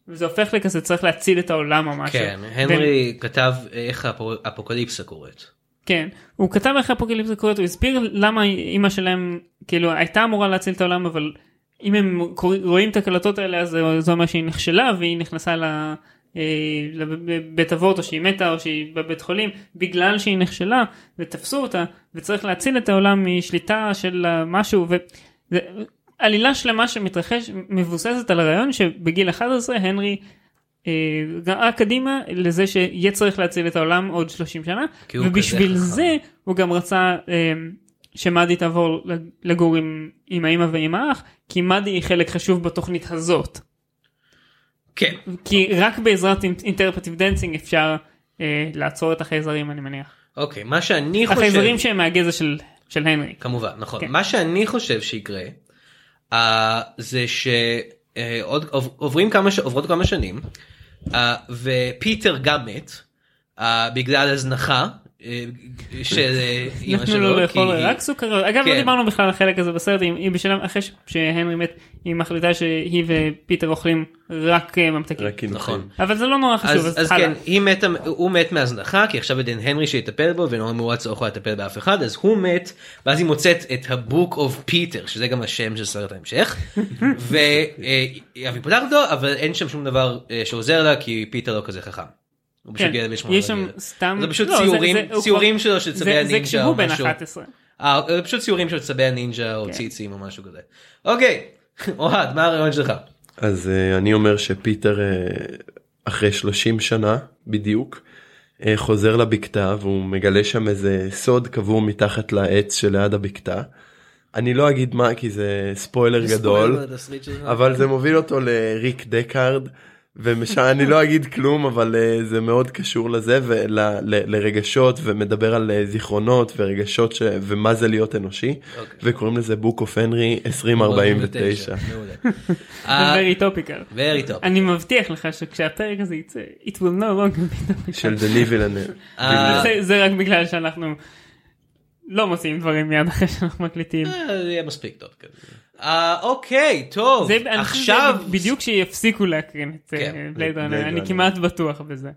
A: וזה הופך לכזה צריך להציל את העולם או משהו.
C: כן,
A: והם-
C: הנרי כתב איך האפו- האפוקליפסה קורית.
A: כן. הוא כתב איך אפוקליפסה קורית, הוא הסביר למה אימא שלהם כאילו הייתה אמורה להציל את העולם אבל אם הם קורא- רואים את הקלטות האלה אז זה- זה אומר שהיא נכשלה והיא נכנסה ל... אה, לבית אבות או שהיא מתה או שהיא בבית חולים בגלל שהיא נכשלה ותפסו אותה וצריך להציל את העולם משליטה של משהו ועלילה שלמה שמתרחש מבוססת על הרעיון שבגיל 11 הנרי אה, ראה קדימה לזה שיהיה צריך להציל את העולם עוד 30 שנה
C: כי הוא
A: ובשביל
C: כזה חכם.
A: זה הוא גם רצה אה, שמאדי תעבור לגור עם, עם האמא ועם האח כי מאדי היא חלק חשוב בתוכנית הזאת.
C: כן.
A: כי רק בעזרת אינטרפרטיב דנסינג אפשר אה, לעצור את החייזרים אני מניח.
C: אוקיי, מה שאני חושב...
A: החייזרים שהם מהגזע של, של הנרי.
C: כמובן, נכון.
A: כן.
C: מה שאני חושב שיקרה, אה, זה שעוברים כמה, ש- עוברות כמה שנים, אה, ופיטר גם מת, אה, בגלל הזנחה אה, של אה, אמא
A: נתנו לו
C: שלו,
A: לא לאכול
C: כי-
A: רק סוכריות. אגב לא
C: כן.
A: דיברנו בכלל על החלק הזה בסרט, היא- היא בשלב אחרי ש- שהנרי מת היא מחליטה שהיא ופיטר אוכלים רק אה, ממתקים.
D: רק כאילו
C: נכון.
A: אבל זה לא נורא חשוב
C: אז,
A: אז
C: אז
A: הלאה.
C: כן, היא מתה, הוא מת מהזנחה, כי עכשיו עדן הנרי שיטפל בו, ונורא מואץ לא יכולה לטפל באף אחד, אז הוא מת, ואז היא מוצאת את ה-book of Peter, שזה גם השם של סרט ההמשך, והיא פותחת אותו, אבל אין שם שום דבר אה, שעוזר לה, כי פיטר לא כזה חכם. הוא פשוט
A: כן,
C: ילד בן שמונה
A: יש שם
C: רגיל.
A: סתם
C: זה פשוט
A: לא,
C: ציורים,
A: זה- הוא
C: ציורים
A: כבר-
C: שלו של
A: זה-
C: צבי
A: זה
C: הנינג'ה
A: כשהוא
C: או
A: בן כן.
C: משהו.
A: 11.
C: אה, אה, פשוט ציורים של צבי הנינג'ה או ציצים או משהו כזה. אוקיי, אוהד, מה הרעיון שלך?
D: אז אה, אני אומר שפיטר אה, אחרי 30 שנה בדיוק אה, חוזר לבקתה והוא מגלה שם איזה סוד קבור מתחת לעץ שליד הבקתה. אני לא אגיד מה כי זה ספוילר גדול
C: ספוילר לתסריט שלך.
D: אבל זה מוביל אותו לריק דקארד ומשם אני לא אגיד כלום אבל אה, זה מאוד קשור לזה ולרגשות ומדבר על אה, זיכרונות ורגשות ש... ומה זה להיות אנושי
C: אוקיי.
D: וקוראים לזה book of henry 2049.
C: מעולה.
A: זה
C: אה,
A: very topical.
C: very top.
A: אני מבטיח לך שכשהפרק הזה יצא it will no longer be topical.
D: של דני וילנר.
C: אה,
A: זה- זה רק בגלל שאנחנו לא מוצאים דברים מיד אחרי שאנחנו מקליטים.
C: אה, זה יהיה מספיק טוב כזה. אה, אוקיי, טוב,
A: זה אני חושב שזה
C: עכשיו...
A: בדיוק שיפסיקו להקרין את
C: כן,
A: בלייד
D: Blade
A: ראנר אני
D: Runner.
A: כמעט בטוח בזה.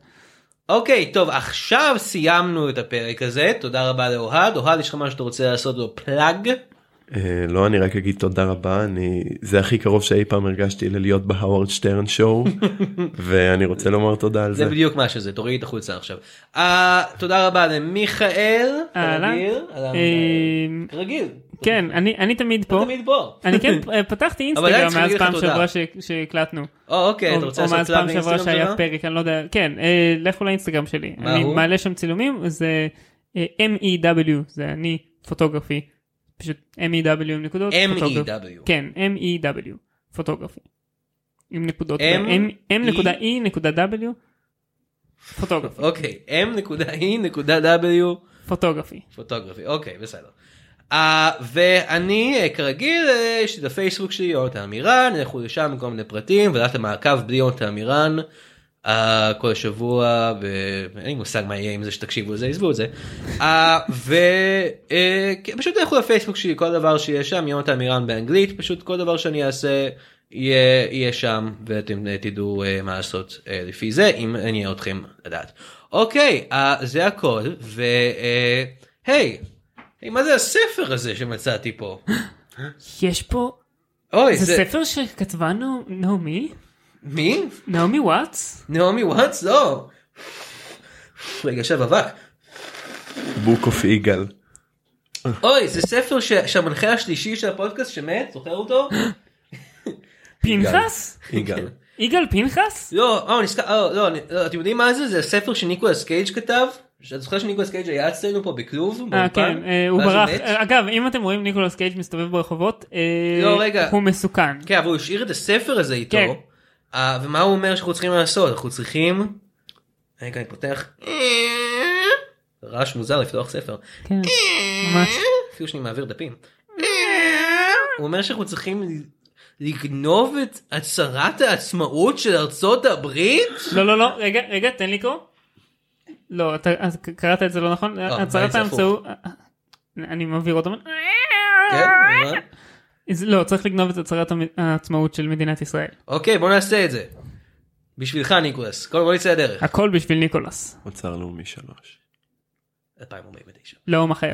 C: אוקיי, טוב, עכשיו סיימנו את הפרק הזה, תודה רבה לאוהד. אוהד, יש לך משהו שאתה רוצה לעשות לו פלאג?
D: אה, לא אני רק אגיד תודה רבה אני זה הכי קרוב שאי פעם הרגשתי ללהיות בהאווארד שטרן שואו ואני רוצה לומר תודה על
C: זה
D: זה.
C: בדיוק מה שזה, תוריד את החולצה עכשיו. אה, תודה רבה למיכאל.
A: אהלן.
C: כרגיל, אהלן,
A: אה,
C: כרגיל.
A: כן אני אני תמיד פה.
C: תמיד פה.
A: אני כן אה, פתחתי
C: עדיין
A: אינסטגרם
C: צריך
A: מאז
C: להגיד לך
A: פעם
C: תודה.
A: שעברה ש- שהקלטנו.
C: או, אוקיי, אתה
A: או-
C: רוצה
A: או
C: לעשות
A: מאז
C: פלאג
A: פעם שעברה
C: באינסטגרם
A: שהיה
C: שלך?
A: פרק אני לא יודע כן אה, לכו לאינסטגרם שלי
C: מה
A: אני
C: הוא?
A: מעלה שם צילומים זה אה, MEW זה אני פוטוגרפי פשוט MEW עם נקודות
C: E
A: פוטוגרפי.
C: M-E-W.
A: כן MEW פוטוגרפי עם נקודות
C: M- E-
A: M.E.W פוטוגרפי
C: אוקיי, M.E.W.
A: פוטוגרפי
C: פוטוגרפי, אוקיי, בסדר. Uh, ואני, אה, כרגיל, אה, יש לי את הפייסבוק שלי, יונתן עמירן, לכו לשם עם כל מיני פרטים, ולכת למעקב בלי יונתן עמירן, uh, כל השבוע, ו- ואין לי מושג מה יהיה עם זה שתקשיבו לזה, עזבו את זה. אה, Uh, כן, ופשוט uh, פשוט לכו לפייסבוק שלי, כל דבר שיש שם, יונתן עמירן באנגלית, פשוט כל דבר שאני אעשה. יהיה, יהיה שם ואתם אה, תדעו אה, מה לעשות אה, לפי זה אם עניין אתכם לדעת. אוקיי אה, זה הכל והי היי מה זה הספר הזה שמצאתי פה.
A: יש פה,
C: אוי
A: זה
C: זה
A: ספר שכתבה נו- נעמי,
C: מי?
A: נעמי וואטס,
C: נעמי וואטס? לא. רגע שב אבק.
D: בוק אוף יגאל.
C: אוי זה ספר ש... שהמנחה השלישי של הפודקאסט שמת זוכר אותו?
A: פנחס?
C: כן.
D: יגאל.
A: יגאל פנחס?
C: לא, אה, נזכר, אה, לא, אני- לא, אתם יודעים מה זה? זה הספר שניקולס קייג' כתב. שאת זוכרת שניקולס קייג' היה אצלנו פה בכלוב?
A: אה
C: באולפן?
A: כן, אה, הוא
C: ואז
A: ברח.
C: מת.
A: אה, אגב, אם אתם רואים ניקולס קייג' מסתובב ברחובות, אה,
C: לא, רגע.
A: הוא מסוכן.
C: כן, אבל הוא השאיר את הספר הזה איתו.
A: כן.
C: אה, ומה הוא אומר שאנחנו צריכים לעשות? אנחנו צריכים... רגע, אני פותח... רעש מוזר לפתוח ספר.
A: כן, ממש.
C: אפילו שאני מעביר דפים. הוא אומר שאנחנו צריכים לגנוב את הצהרת העצמאות של ארצות הברית?
A: לא לא לא, רגע, רגע, תן לי לקרוא. לא, אתה אז ק- קראת את זה לא נכון,
C: אה,
A: הצהרת
C: זה הפוך.
A: האמצעות, אני מעביר אותו.
C: כן, אה?
A: אז לא, צריך לגנוב את הצהרת המ- העצמאות של מדינת ישראל.
C: אוקיי, בוא נעשה את זה. בשבילך ניקולס, קודם כל נצא לדרך.
A: הכל בשביל ניקולס,
D: אוצר לאומי שלוש.
C: 2049.
A: לאום אחר.